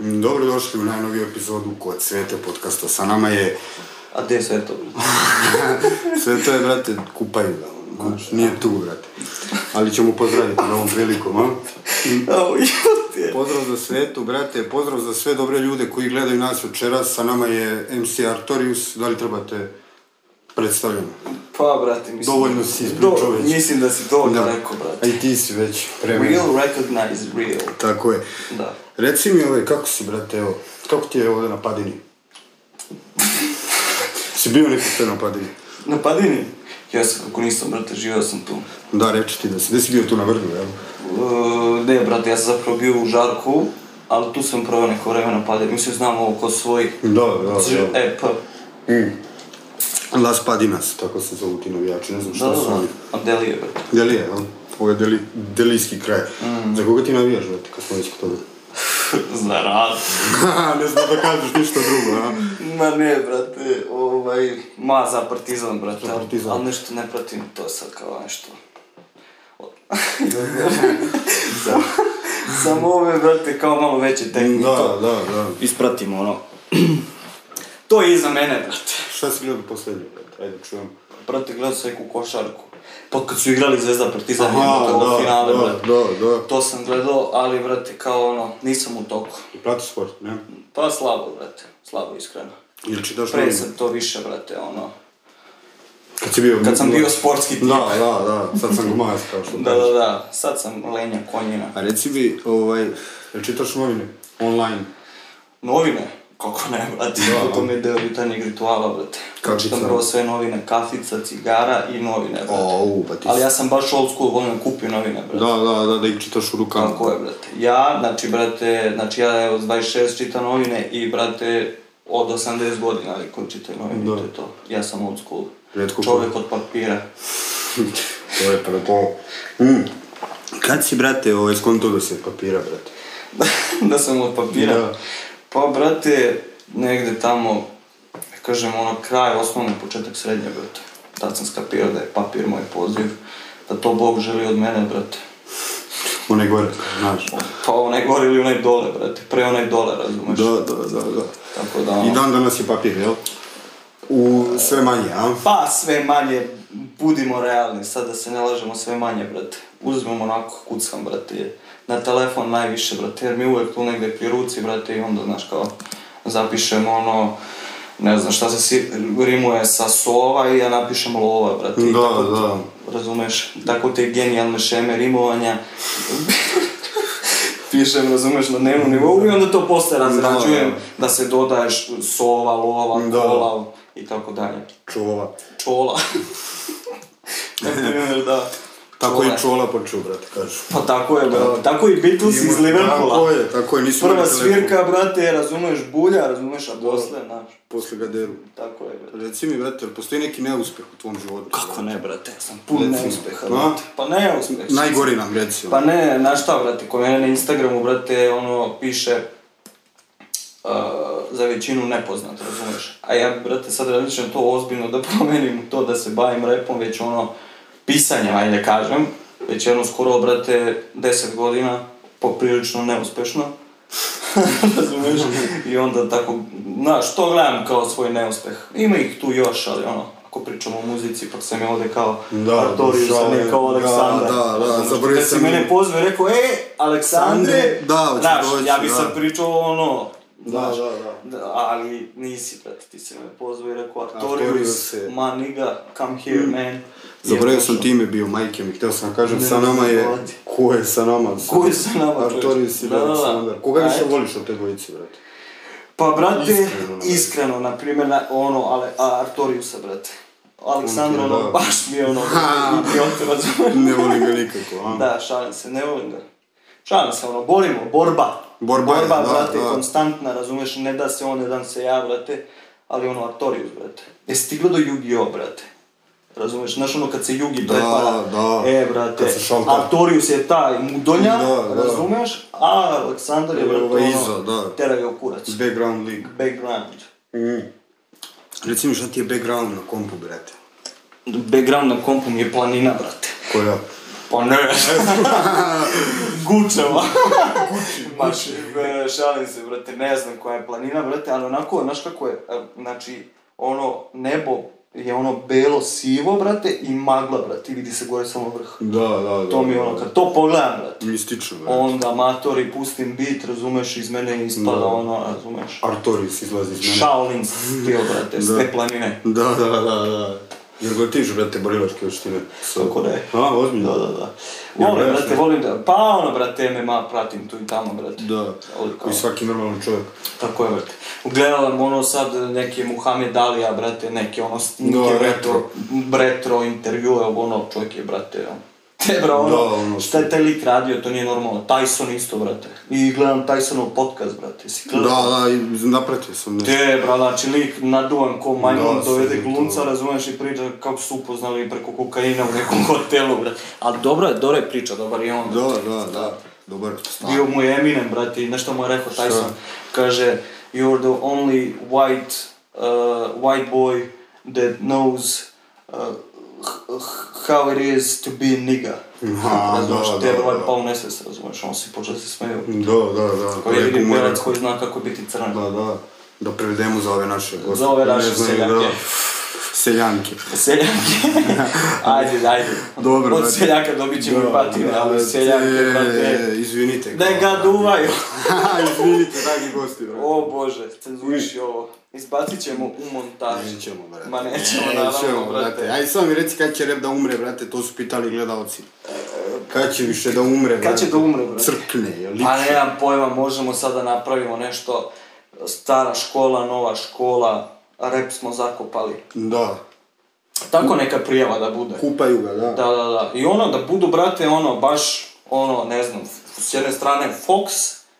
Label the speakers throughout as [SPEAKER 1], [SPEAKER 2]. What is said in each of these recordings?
[SPEAKER 1] Добро дошли у најнови епизод кој Цвете подкаста. Са нама е
[SPEAKER 2] А де се ето?
[SPEAKER 1] Свето е брате купај. Знаеш, ние туку брате. Али ќе му поздравите на овом приликом, а?
[SPEAKER 2] Ау, јоте.
[SPEAKER 1] Поздрав за свету, брате, поздрав за све добре луѓе кои гледају нас вчера. Са нама е МС Арториус, дали требате представено?
[SPEAKER 2] Па, брате, мислам...
[SPEAKER 1] Доволно си испричал веќе.
[SPEAKER 2] Мислим да си доволно далеко, брате.
[SPEAKER 1] А и ти си веќе премиен.
[SPEAKER 2] Real recognize real.
[SPEAKER 1] Тако е.
[SPEAKER 2] Да.
[SPEAKER 1] Реци ми, ове, како си, брате, ево, како ти е овде на падини? си бил некој те на падини?
[SPEAKER 2] Напади ни. Јас како нисам, брате, живео сам ту.
[SPEAKER 1] Да, рече ти да си. Де си бил ту на Врду, ево?
[SPEAKER 2] Е, Не, брате, јас сам заpravo бил у Жарку, али ту сам провел неко време на паде. Мислим, знам ово ко свој...
[SPEAKER 1] Да, да,
[SPEAKER 2] Ж-
[SPEAKER 1] да.
[SPEAKER 2] Е, п.
[SPEAKER 1] М. Лас Падинас, така се зову ти навијачи, не знам
[SPEAKER 2] Да,
[SPEAKER 1] што
[SPEAKER 2] да,
[SPEAKER 1] се
[SPEAKER 2] да.
[SPEAKER 1] они.
[SPEAKER 2] А дели е, брате.
[SPEAKER 1] Дели е, ел? Ово е дели, делијски крај.
[SPEAKER 2] Mm.
[SPEAKER 1] За кога ти навијаш, брате, како сме веќе кај тоа?
[SPEAKER 2] За рад.
[SPEAKER 1] не знам да кажеш ништо друго, а?
[SPEAKER 2] Ма не, брате, овај... Ма, за партизан, брате,
[SPEAKER 1] За партизан.
[SPEAKER 2] ал нешто не пратим, тоа е сад као нешто. Само- Само ове, брате, као мало веќе техни,
[SPEAKER 1] Да,
[SPEAKER 2] тоа
[SPEAKER 1] да, да.
[SPEAKER 2] Испратим, оно. Тоа е и за мене, брате.
[SPEAKER 1] Шта си гледал последно, брате? Ајде, чувам.
[SPEAKER 2] Брате, гледам секу кошарку. Па кад су играли Звезда Партизан,
[SPEAKER 1] Аха,
[SPEAKER 2] имате во финале,
[SPEAKER 1] да,
[SPEAKER 2] брате.
[SPEAKER 1] да, да.
[SPEAKER 2] Тоа сам гледал, али, брате, као оно, нисам у току.
[SPEAKER 1] Прати спорт, не?
[SPEAKER 2] Па слабо, брате, слабо, искрено.
[SPEAKER 1] Или читаш
[SPEAKER 2] Пре
[SPEAKER 1] новини?
[SPEAKER 2] сам то више, брате, оно,
[SPEAKER 1] Kad si bio...
[SPEAKER 2] Kad sam bio sportski tip.
[SPEAKER 1] Da, da, da, sad sam gumajac kao što
[SPEAKER 2] Da,
[SPEAKER 1] kažeš.
[SPEAKER 2] da, da, sad sam lenja konjina.
[SPEAKER 1] A reci mi, ovaj, jel čitaš novine? Online.
[SPEAKER 2] Novine? Kako ne, brate,
[SPEAKER 1] Da.
[SPEAKER 2] to mi je deo jutarnjeg rituala, brate.
[SPEAKER 1] Kafica.
[SPEAKER 2] Pročitam prvo sve novine, kafica, cigara i novine, brate.
[SPEAKER 1] Au, pa ti
[SPEAKER 2] Ali
[SPEAKER 1] si-
[SPEAKER 2] ja sam baš old school, volim da kupim novine, brate.
[SPEAKER 1] Da, da, da, da ih čitaš u rukama.
[SPEAKER 2] Tako je, brate. Ja, znači, brate, znači ja evo s 26 čitam novine i, brate, od 80 godina ali koji čitaju novine,
[SPEAKER 1] Da.
[SPEAKER 2] to je to. Ja sam old school.
[SPEAKER 1] Rijetko
[SPEAKER 2] Čovjek od papira.
[SPEAKER 1] To je prvo to. Mm. Kad si, brate, ovaj, skonto da se papira, brate?
[SPEAKER 2] da sam od papira.
[SPEAKER 1] Da.
[SPEAKER 2] Pa, brate, negde tamo, da kažem, ono, kraj osnovne, početak srednje, brate. Tad sam skapirao da je papir moj poziv, da to Bog želi od mene, brate.
[SPEAKER 1] Onaj gore, znaš.
[SPEAKER 2] Pa onaj gore ili onaj dole, brate, pre onaj dole, razumeš?
[SPEAKER 1] Da, da, da, da.
[SPEAKER 2] Tako da, ono,
[SPEAKER 1] I dan danas je papir, jel? U sve manje, a?
[SPEAKER 2] pa sve manje, budimo realni, sad da se ne lažemo sve manje, brate. Uzmem onako, kuckam, brate, na telefon najviše, brate, jer mi je uvek tu negde pri ruci, brate, i onda, znaš, kao, zapišem ono, ne znam šta se si, rimuje sa sova i ja napišem lova, brate. i
[SPEAKER 1] Da,
[SPEAKER 2] tako to,
[SPEAKER 1] da.
[SPEAKER 2] Razumeš, tako te genijalne šeme rimovanja, pišem, razumeš, na dnevnom nivou i onda to posle razrađujem da se dodaješ sova, lova,
[SPEAKER 1] Da.
[SPEAKER 2] kola i tako dalje.
[SPEAKER 1] Čova.
[SPEAKER 2] Čola. Na primjer, da.
[SPEAKER 1] Tako
[SPEAKER 2] Čola.
[SPEAKER 1] i čola počeo, brate, kažu.
[SPEAKER 2] Pa tako je, brate. Tako i Beatles iz
[SPEAKER 1] Tako
[SPEAKER 2] Liverpoola.
[SPEAKER 1] je, tako je, nisu
[SPEAKER 2] Prva
[SPEAKER 1] imali telefon.
[SPEAKER 2] svirka, brate, razumeš bulja, razumeš, a posle, znaš.
[SPEAKER 1] Posle ga deru.
[SPEAKER 2] Tako je, brate.
[SPEAKER 1] Reci mi, brate, jel postoji neki neuspeh u tvom životu?
[SPEAKER 2] Kako ne, brate, ja sam pun
[SPEAKER 1] Recimo.
[SPEAKER 2] neuspeha,
[SPEAKER 1] A?
[SPEAKER 2] brate. Pa ne uspeh.
[SPEAKER 1] Najgori nam, reci. ono.
[SPEAKER 2] Pa ne, znaš šta, brate, kod mene na Instagramu, brate, ono, piše uh, za većinu nepoznat, razumeš? A ja, brate, sad razmišljam to ozbiljno da promenim to, da se bavim repom, već ono, pisanjem, ajde kažem, već jedno skoro, brate, 10 godina, poprilično neuspešno. razumeš? I onda tako, znaš, to gledam kao svoj neuspeh. Ima ih tu još, ali ono, ako pričamo o muzici, pa sam ja ovde kao
[SPEAKER 1] Da,
[SPEAKER 2] Artorius, a
[SPEAKER 1] dušao je.
[SPEAKER 2] ne kao
[SPEAKER 1] Da,
[SPEAKER 2] Aleksandar.
[SPEAKER 1] da, da,
[SPEAKER 2] Razumeš?
[SPEAKER 1] zaboravio
[SPEAKER 2] Kad si
[SPEAKER 1] sam i-
[SPEAKER 2] mene pozvao i rekao, e, Aleksandre,
[SPEAKER 1] Da, hoćeš
[SPEAKER 2] znaš,
[SPEAKER 1] doći,
[SPEAKER 2] ja bi
[SPEAKER 1] da.
[SPEAKER 2] sad pričao ono, znaš,
[SPEAKER 1] da, da.
[SPEAKER 2] da, ali nisi, brate, ti si me pozvao i rekao,
[SPEAKER 1] Artorius
[SPEAKER 2] Artorius,
[SPEAKER 1] je-
[SPEAKER 2] ma niga, come
[SPEAKER 1] Mm.
[SPEAKER 2] here, man.
[SPEAKER 1] Zaboravio
[SPEAKER 2] I
[SPEAKER 1] sam
[SPEAKER 2] došao.
[SPEAKER 1] ti ime bio, majke mi, hteo sam da kažem,
[SPEAKER 2] Ne,
[SPEAKER 1] sa nama je...
[SPEAKER 2] mladi.
[SPEAKER 1] Ko je sa nama?
[SPEAKER 2] Ko je sa nama, čovječe?
[SPEAKER 1] Artorius i
[SPEAKER 2] Da, da, da.
[SPEAKER 1] Aleksandar. Koga više
[SPEAKER 2] Ajde.
[SPEAKER 1] voliš od te dvojice, brate?
[SPEAKER 2] Pa, brate,
[SPEAKER 1] Iskreno,
[SPEAKER 2] iskreno,
[SPEAKER 1] brate.
[SPEAKER 2] iskreno na primjer, na, ono, ale, a, Artoriusa, brate. Aleksandra,
[SPEAKER 1] On ti je
[SPEAKER 2] ono,
[SPEAKER 1] dao.
[SPEAKER 2] baš mi je ono,
[SPEAKER 1] Ha.
[SPEAKER 2] idiot, razumiješ?
[SPEAKER 1] Ne volim ga nikako, ono. a?
[SPEAKER 2] Da, šalim se, ne volim ga. Šalim se, ono, borimo, borba.
[SPEAKER 1] Borba je, da,
[SPEAKER 2] brate,
[SPEAKER 1] da.
[SPEAKER 2] konstantna, razumeš, ne da se on, ne dan se ja, brate, ali ono, Artorius, brate. E, stiglo do Yu-Gi-Oh, brate. Razumeš, znaš ono kad se Yugi
[SPEAKER 1] Da,
[SPEAKER 2] prepara,
[SPEAKER 1] da.
[SPEAKER 2] e, brate,
[SPEAKER 1] Kad se šalta.
[SPEAKER 2] Artorius je taj mudonja,
[SPEAKER 1] Da, da.
[SPEAKER 2] razumeš, a Aleksandar je,
[SPEAKER 1] Ovo je
[SPEAKER 2] brate, ono,
[SPEAKER 1] iza, da.
[SPEAKER 2] tera ga u kurac.
[SPEAKER 1] Background league.
[SPEAKER 2] Background.
[SPEAKER 1] Mm. Reci mi šta ti je background na kompu, brate?
[SPEAKER 2] Pa Background na kompu mi je planina, brate.
[SPEAKER 1] Koja?
[SPEAKER 2] Pa ne. Kučeva. Ma, e, šalim se, brate, ne znam koja je planina, brate, ali onako, znaš kako je, e, znači, ono, nebo je ono belo-sivo, brate, i magla, brate, i vidi se gore samo vrh.
[SPEAKER 1] Da, da, da.
[SPEAKER 2] To mi je ono, kad to pogledam, brate,
[SPEAKER 1] Mistično, brate.
[SPEAKER 2] onda matori, pustim bit, razumeš, iz mene ispada
[SPEAKER 1] Da.
[SPEAKER 2] ono, razumeš.
[SPEAKER 1] Artorius izlazi iz mene.
[SPEAKER 2] Shaolin stil, brate, s
[SPEAKER 1] Da.
[SPEAKER 2] te planine.
[SPEAKER 1] Da, da, da, da. Jer ga tižu, brate, borilačke veštine. So.
[SPEAKER 2] Tako da je.
[SPEAKER 1] A, ozbiljno?
[SPEAKER 2] Da, da, da.
[SPEAKER 1] Ja,
[SPEAKER 2] Volim,
[SPEAKER 1] gledaš
[SPEAKER 2] brate,
[SPEAKER 1] me?
[SPEAKER 2] volim da... Pa ono, brate, MMA pratim tu i tamo, brate.
[SPEAKER 1] Da,
[SPEAKER 2] Ali kao-
[SPEAKER 1] koji svaki normalan čovjek.
[SPEAKER 2] Tako je, brate. Gledala ono sad neke Muhammed Alija, brate, neke ono snimke,
[SPEAKER 1] Da,
[SPEAKER 2] retro, retro intervjue, ono, čovjek je, brate, ono. Tebra, ono,
[SPEAKER 1] Da, ono,
[SPEAKER 2] šta je taj lik radio, to nije normalno. Tyson isto, brate. I gledam Tysonov podcast, brate, si
[SPEAKER 1] Da,
[SPEAKER 2] gledao?
[SPEAKER 1] da, i napratio sam nešto.
[SPEAKER 2] Te, bra, znači lik naduvan ko majmun,
[SPEAKER 1] Da,
[SPEAKER 2] dovede
[SPEAKER 1] sve to.
[SPEAKER 2] glumca, razumeš i priča kako su upoznali preko kokaina u nekom hotelu, brate. Ali dobra je, dobra je priča, dobar je on.
[SPEAKER 1] Da, da, da. Dobar. Stan.
[SPEAKER 2] Bio mu je Eminem, brate, i nešto mu je rekao Tyson. Kaže, you're the only white, uh, white boy that knows uh, h- h- how it is to be a nigga.
[SPEAKER 1] Aha,
[SPEAKER 2] razumeš,
[SPEAKER 1] da,
[SPEAKER 2] te
[SPEAKER 1] da,
[SPEAKER 2] bro je
[SPEAKER 1] da.
[SPEAKER 2] pao u nesvest, razumeš, on se počeo da se smeju.
[SPEAKER 1] Da, da, da.
[SPEAKER 2] Koji je
[SPEAKER 1] Lepo
[SPEAKER 2] vidim
[SPEAKER 1] mu je
[SPEAKER 2] belac
[SPEAKER 1] rekao.
[SPEAKER 2] koji zna kako biti crn.
[SPEAKER 1] Da, da. Da prevedemo za ove naše goste.
[SPEAKER 2] Za ove naše
[SPEAKER 1] Ne znaju,
[SPEAKER 2] seljanke.
[SPEAKER 1] Da. Seljanke.
[SPEAKER 2] Seljake. ajde, ajde.
[SPEAKER 1] Dobro,
[SPEAKER 2] Od
[SPEAKER 1] brate.
[SPEAKER 2] seljaka dobit ćemo i batine, ali seljake, brate.
[SPEAKER 1] e, Izvinite.
[SPEAKER 2] Ne ga duvaju.
[SPEAKER 1] Izvinite, dragi gosti. brate.
[SPEAKER 2] O bože, cenzuriši ovo. Izbacit ćemo u montaži.
[SPEAKER 1] Nećemo, brate.
[SPEAKER 2] Ma nećemo,
[SPEAKER 1] E,
[SPEAKER 2] naravno,
[SPEAKER 1] ćemo, brate.
[SPEAKER 2] brate.
[SPEAKER 1] Ajde samo mi reci kad će rep da umre, brate, to su pitali gledalci. Kad će više da umre, brate?
[SPEAKER 2] Kad će da umre, brate?
[SPEAKER 1] Crkne, je li?
[SPEAKER 2] Pa nemam pojma, možemo sada napravimo nešto. Stara škola, nova škola, rep smo zakopali.
[SPEAKER 1] Da.
[SPEAKER 2] Tako neka prijava da bude.
[SPEAKER 1] Kupaju ga, da.
[SPEAKER 2] Da, da, da. I ono da budu, brate, ono, baš, ono, ne znam, s jedne strane Fox,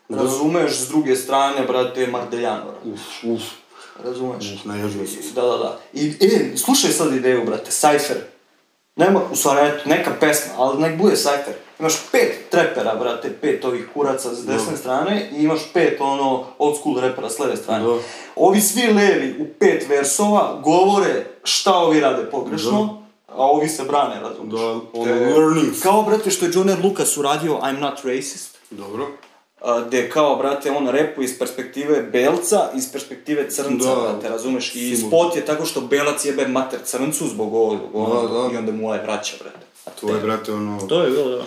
[SPEAKER 2] razumeš, s druge strane, brate, Mardeljano,
[SPEAKER 1] Uf, uf,
[SPEAKER 2] razumeš?
[SPEAKER 1] naježio sam se.
[SPEAKER 2] Da, da, da. I, e, slušaj sad ideju, brate, Cypher. Nema, u stvari, eto, neka pesma, ali nek bude Cypher. Imaš pet trepera, brate, pet ovih kuraca s desne strane i imaš pet, ono, old school repera s leve strane.
[SPEAKER 1] Da.
[SPEAKER 2] Ovi svi levi u pet versova govore šta ovi rade pogrešno, a ovi se brane, razumiješ?
[SPEAKER 1] Da, ono, learnings.
[SPEAKER 2] Kao, brate, što je Johnny Lucas uradio I'm not racist,
[SPEAKER 1] Dobro.
[SPEAKER 2] a, gde kao, brate, on repu iz perspektive belca, iz perspektive crnca,
[SPEAKER 1] Da.
[SPEAKER 2] brate, razumeš? I
[SPEAKER 1] Sigurno.
[SPEAKER 2] spot je tako što belac jebe mater crncu zbog ovog, zbog onog,
[SPEAKER 1] Da, da.
[SPEAKER 2] i onda mu ovaj vraća, brate. A
[SPEAKER 1] To je, brate, ono...
[SPEAKER 2] to je bilo, da.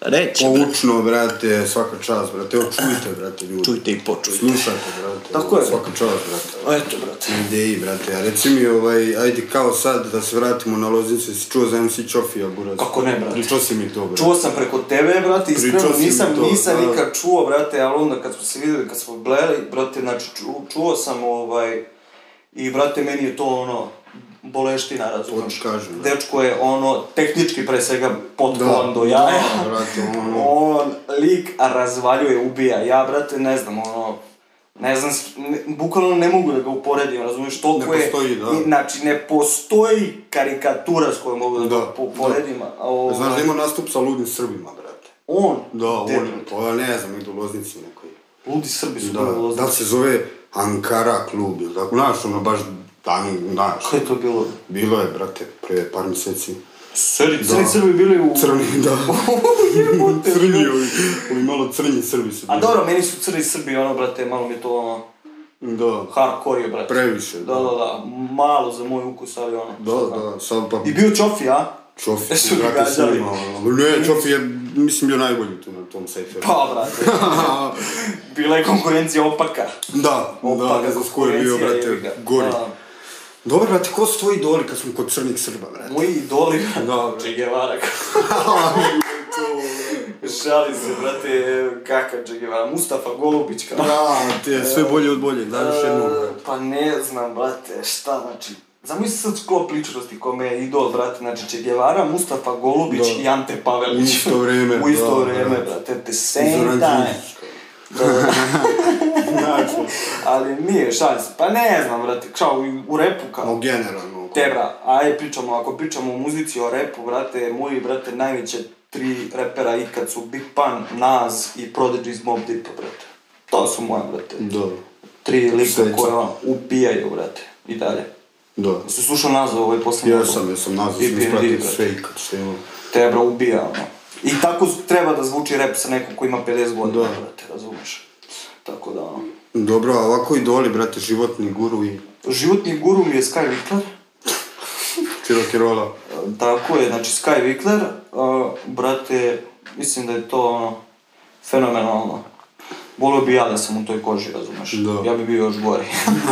[SPEAKER 2] Reći,
[SPEAKER 1] Poučno, Pa brate, svaka čast, brate. Evo, čujte, brate, ljudi.
[SPEAKER 2] čujte i počujte.
[SPEAKER 1] Slušajte, brate.
[SPEAKER 2] Tako je.
[SPEAKER 1] Svaka čast, brate.
[SPEAKER 2] Eto, brate.
[SPEAKER 1] Ideji, brate. A reci mi, ovaj, ajde kao sad da se vratimo na Loznicu, si čuo za MC Ćofija, buraz?
[SPEAKER 2] Kako ne, brate?
[SPEAKER 1] Pričao si mi to, brate.
[SPEAKER 2] Čuo sam preko tebe, brate, iskreno
[SPEAKER 1] Pričao si mi
[SPEAKER 2] nisam,
[SPEAKER 1] to,
[SPEAKER 2] nisam
[SPEAKER 1] da.
[SPEAKER 2] nikad čuo, brate, ali onda kad smo se vidjeli, kad smo gledali, brate, znači, ču- čuo sam, ovaj, i, brate, meni je to, ono, boleština, razumiješ?
[SPEAKER 1] Hoću kažem, da.
[SPEAKER 2] Dečko je, ono, tehnički, pre svega, potkovan do jaja.
[SPEAKER 1] Da, brate, ono...
[SPEAKER 2] On, lik, razvaljuje, ubija. Ja, brate, ne znam, ono, ne znam, s- ne- bukvalno ne mogu da ga uporedim, razumiješ, toliko
[SPEAKER 1] Ne
[SPEAKER 2] je...
[SPEAKER 1] postoji, da.
[SPEAKER 2] i- Znači, ne postoji karikatura s kojom mogu da, ga
[SPEAKER 1] Da, da.
[SPEAKER 2] uporedim. a Ovaj,
[SPEAKER 1] Znaš da ima nastup sa ludim Srbima, brate.
[SPEAKER 2] on,
[SPEAKER 1] Da, on,
[SPEAKER 2] Debel.
[SPEAKER 1] pa ne znam, negdje u Loznici nekoj.
[SPEAKER 2] Ludi Srbi su bili
[SPEAKER 1] Da, da li se zove Ankara klub ili tako, znaš, ono baš, dan, znaš,
[SPEAKER 2] Kako je to bilo?
[SPEAKER 1] bilo je, brate, pre par mjeseci.
[SPEAKER 2] Sredi, Crni Srbi bili u...
[SPEAKER 1] Crni, da.
[SPEAKER 2] Jebote,
[SPEAKER 1] crni,
[SPEAKER 2] bilo.
[SPEAKER 1] ovi, ovi malo crnji Srbi su
[SPEAKER 2] A
[SPEAKER 1] bili.
[SPEAKER 2] dobro, meni su Crni Srbi, ono, brate, malo mi je to, ono,
[SPEAKER 1] Da,
[SPEAKER 2] hardcore je, brate.
[SPEAKER 1] previše,
[SPEAKER 2] Da,
[SPEAKER 1] da.
[SPEAKER 2] da, da, malo za moj ukus, ali ono.
[SPEAKER 1] Da, da, sad pa
[SPEAKER 2] I bio Čofi, a?
[SPEAKER 1] Čofi
[SPEAKER 2] Jesu
[SPEAKER 1] su,
[SPEAKER 2] li
[SPEAKER 1] brate,
[SPEAKER 2] gađali?
[SPEAKER 1] snimao, ono. Ne, Čofi je, mislim, bio najbolji tu na tom sejferu.
[SPEAKER 2] Pa, brate, bila je konkurencija opaka.
[SPEAKER 1] Da, da, ne znam s koji je bio,
[SPEAKER 2] konkurencija, jebi
[SPEAKER 1] brate,
[SPEAKER 2] ga.
[SPEAKER 1] gori.
[SPEAKER 2] Da.
[SPEAKER 1] Dobro, brate, ko su tvoji idoli kad smo kod crnih Srba, brate?
[SPEAKER 2] Moji idoli,
[SPEAKER 1] Dobro.
[SPEAKER 2] Che Guevara. Šalim se, brate, kakav Che Guevara, Mustafa Golubić, kao.
[SPEAKER 1] Brate, sve bolje od bolje, daj još jednu.
[SPEAKER 2] E, Pa ne znam, brate, šta znači... Zamisli sad sklop ličnosti kome je idol, brate, znači Che Guevara, Mustafa Golubić
[SPEAKER 1] Da.
[SPEAKER 2] i Ante Pavelić.
[SPEAKER 1] U isto vrijeme,
[SPEAKER 2] U isto
[SPEAKER 1] da,
[SPEAKER 2] vrijeme,
[SPEAKER 1] brate.
[SPEAKER 2] brate, the same
[SPEAKER 1] Zoran
[SPEAKER 2] time.
[SPEAKER 1] Đinđić. Znači,
[SPEAKER 2] Ali nije, šalim se, pa ne znam, brate, kao i u repu
[SPEAKER 1] O,
[SPEAKER 2] kao.
[SPEAKER 1] ono, generalno.
[SPEAKER 2] Te, bra, aj pričamo, ako pričamo o muzici, o repu, brate, moji, brate, najveće tri repera ikad su Big Pun, Nas i Prodigy iz Mob Deepa, brate. To su moje, brate,
[SPEAKER 1] Da,
[SPEAKER 2] tri lika
[SPEAKER 1] Sreća.
[SPEAKER 2] koje ono, ubijaju, brate, i dalje.
[SPEAKER 1] da.
[SPEAKER 2] Si slušao nazvu ovaj posljednji
[SPEAKER 1] Ja sam, ja sam nazvao, sam
[SPEAKER 2] Ipi and Didi,
[SPEAKER 1] ispratio
[SPEAKER 2] brate.
[SPEAKER 1] sve ikad što imam.
[SPEAKER 2] Te bro ubija, ono. I tako treba da zvuči rep sa nekom ko ima 50 godina,
[SPEAKER 1] Da.
[SPEAKER 2] brate, razumeš? Tako da, ono.
[SPEAKER 1] Dobro, a ovako idoli, brate, životni guru i
[SPEAKER 2] Životni guru mi je Sky Winkler.
[SPEAKER 1] Čirokirola.
[SPEAKER 2] E, Tako je, znači Sky Winkler, e, brate, mislim da je to ono, fenomenalno. Volio bi ja da sam u toj koži, razumeš?
[SPEAKER 1] Da.
[SPEAKER 2] Ja bi bio još gori.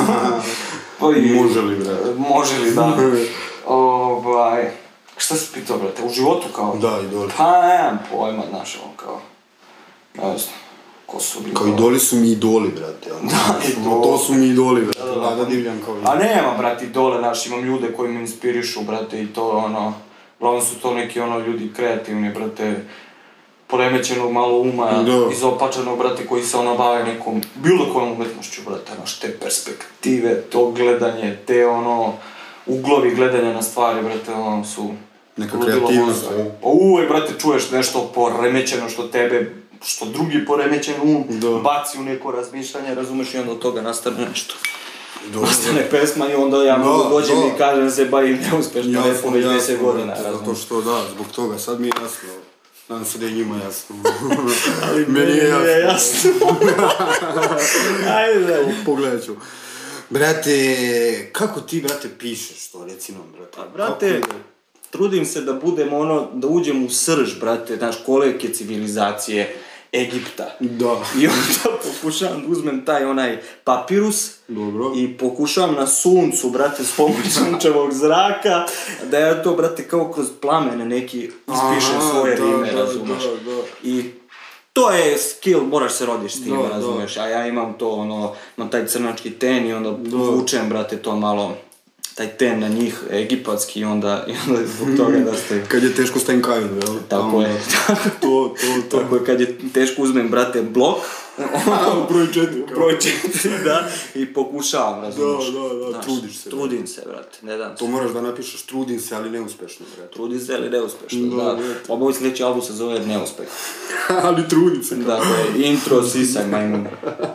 [SPEAKER 2] Pa i-
[SPEAKER 1] Može li, brate?
[SPEAKER 2] E, Može li, da. ovaj, šta si pitao, brate, u životu kao?
[SPEAKER 1] Da, idoli.
[SPEAKER 2] Pa nemam pojma, znaš, ono kao, ne znam, ko su bili.
[SPEAKER 1] Kao idoli su mi idoli, brate. ono.
[SPEAKER 2] Da, idoli.
[SPEAKER 1] To su mi idoli, brate. Lada Divljan kao
[SPEAKER 2] A
[SPEAKER 1] idoli.
[SPEAKER 2] nema, brate, dole, znaš, imam ljude koji me inspirišu, brate, i to, ono, uglavnom su to neki, ono, ljudi kreativni, brate, poremećenog malo uma,
[SPEAKER 1] Da.
[SPEAKER 2] izopačenog, brate, koji se, ono, bave nekom, bilo kojom umetnošću, brate, znaš, te perspektive, to gledanje, te, ono, uglovi gledanja na stvari, brate, ono, su...
[SPEAKER 1] Neka
[SPEAKER 2] ludilo
[SPEAKER 1] kreativnost,
[SPEAKER 2] monstrum.
[SPEAKER 1] ono.
[SPEAKER 2] Pa uvek, brate, čuješ nešto poremećeno što tebe, što drugi poremećen um
[SPEAKER 1] Da.
[SPEAKER 2] baci u neko razmišljanje, razumeš, i onda od toga nastane nešto
[SPEAKER 1] Dobro.
[SPEAKER 2] ostane pesma i onda ja
[SPEAKER 1] Da,
[SPEAKER 2] mogu dođem
[SPEAKER 1] da.
[SPEAKER 2] i kažem se ba i neuspešno ja,
[SPEAKER 1] Jasno,
[SPEAKER 2] pesmu već 10
[SPEAKER 1] jasno,
[SPEAKER 2] godina.
[SPEAKER 1] brate,
[SPEAKER 2] razumeš.
[SPEAKER 1] Zato što, da, zbog toga, sad mi je jasno. Nadam se da je njima jasno. Meni je jasno.
[SPEAKER 2] jasno. Ajde.
[SPEAKER 1] Pogledat ću. Brate, kako ti, brate, pišeš to, reci nam, brate?
[SPEAKER 2] Pa, brate,
[SPEAKER 1] Kako ide?
[SPEAKER 2] trudim se da budem ono, da uđem u srž, brate, znaš, koleke civilizacije Egipta.
[SPEAKER 1] Da.
[SPEAKER 2] I onda pokušavam da uzmem taj onaj papirus
[SPEAKER 1] Dobro.
[SPEAKER 2] i pokušavam na suncu, brate, s pomoć sunčevog zraka, da ja to, brate, kao kroz plamene neki ispišem
[SPEAKER 1] Aha,
[SPEAKER 2] svoje
[SPEAKER 1] da,
[SPEAKER 2] rime,
[SPEAKER 1] da,
[SPEAKER 2] razumeš.
[SPEAKER 1] da, da.
[SPEAKER 2] I to je skill, moraš se rodiš s tim,
[SPEAKER 1] Da, da.
[SPEAKER 2] razumeš. A ja imam to, ono, imam taj crnački ten i onda vučem, brate, to malo taj ten na njih, egipatski, i onda, i onda zbog toga da stojim.
[SPEAKER 1] Kad je teško stavim kajun, jel?
[SPEAKER 2] Tako je.
[SPEAKER 1] To, to, to.
[SPEAKER 2] Tako je, kad je teško uzmem, brate, blok,
[SPEAKER 1] A, broj četiri. kao.
[SPEAKER 2] broj četiri, da, i pokušavam, razumeš.
[SPEAKER 1] Da, da, da,
[SPEAKER 2] Znaš,
[SPEAKER 1] trudiš se.
[SPEAKER 2] Trudim se, brate, ne dam se.
[SPEAKER 1] To moraš da napišeš, trudim se, ali neuspešno, brate.
[SPEAKER 2] Trudim se, ali neuspešno,
[SPEAKER 1] Da,
[SPEAKER 2] da.
[SPEAKER 1] brate.
[SPEAKER 2] Ovo sljedeći album se zove Neuspeh.
[SPEAKER 1] ali trudim se.
[SPEAKER 2] Dakle, intro, sisaj, majmun.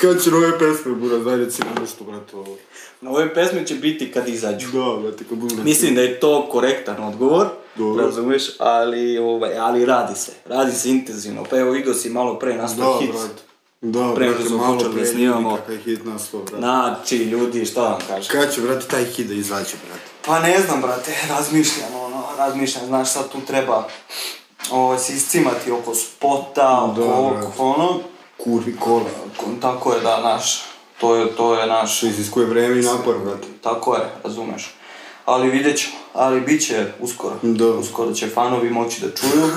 [SPEAKER 1] Kad će nove pesme, bura, daj reci nam nešto, brate, ovo.
[SPEAKER 2] Na ove pesme će biti kad izađu.
[SPEAKER 1] Da, brate, kad budu...
[SPEAKER 2] Mislim da je to korektan odgovor,
[SPEAKER 1] Dobro.
[SPEAKER 2] razumeš, ali, ovaj, ali radi se, radi se intenzivno. Pa evo, igo si malo pre
[SPEAKER 1] Da,
[SPEAKER 2] nastao hit.
[SPEAKER 1] brate. Da,
[SPEAKER 2] Pre nego
[SPEAKER 1] brate,
[SPEAKER 2] što smo
[SPEAKER 1] malo
[SPEAKER 2] počeli
[SPEAKER 1] pre
[SPEAKER 2] da snimamo.
[SPEAKER 1] Kakav je hit nas to, brate.
[SPEAKER 2] Znači, ljudi, šta vam kažem?
[SPEAKER 1] Kad će, brate, taj hit da izađe, brate?
[SPEAKER 2] Pa ne znam, brate, razmišljam, ono, razmišljam, znaš, sad tu treba ovaj, se iscimati oko spota, oko
[SPEAKER 1] Da,
[SPEAKER 2] ovog,
[SPEAKER 1] brate.
[SPEAKER 2] ono.
[SPEAKER 1] Kurvi kola.
[SPEAKER 2] Ko- Tako je, da, naš, to je, to je naš,
[SPEAKER 1] Što iziskuje vreme i napor, brate.
[SPEAKER 2] tako je, razumeš. Ali vidjet ćemo, ali bit će uskoro.
[SPEAKER 1] Da.
[SPEAKER 2] Uskoro će fanovi moći da čuju.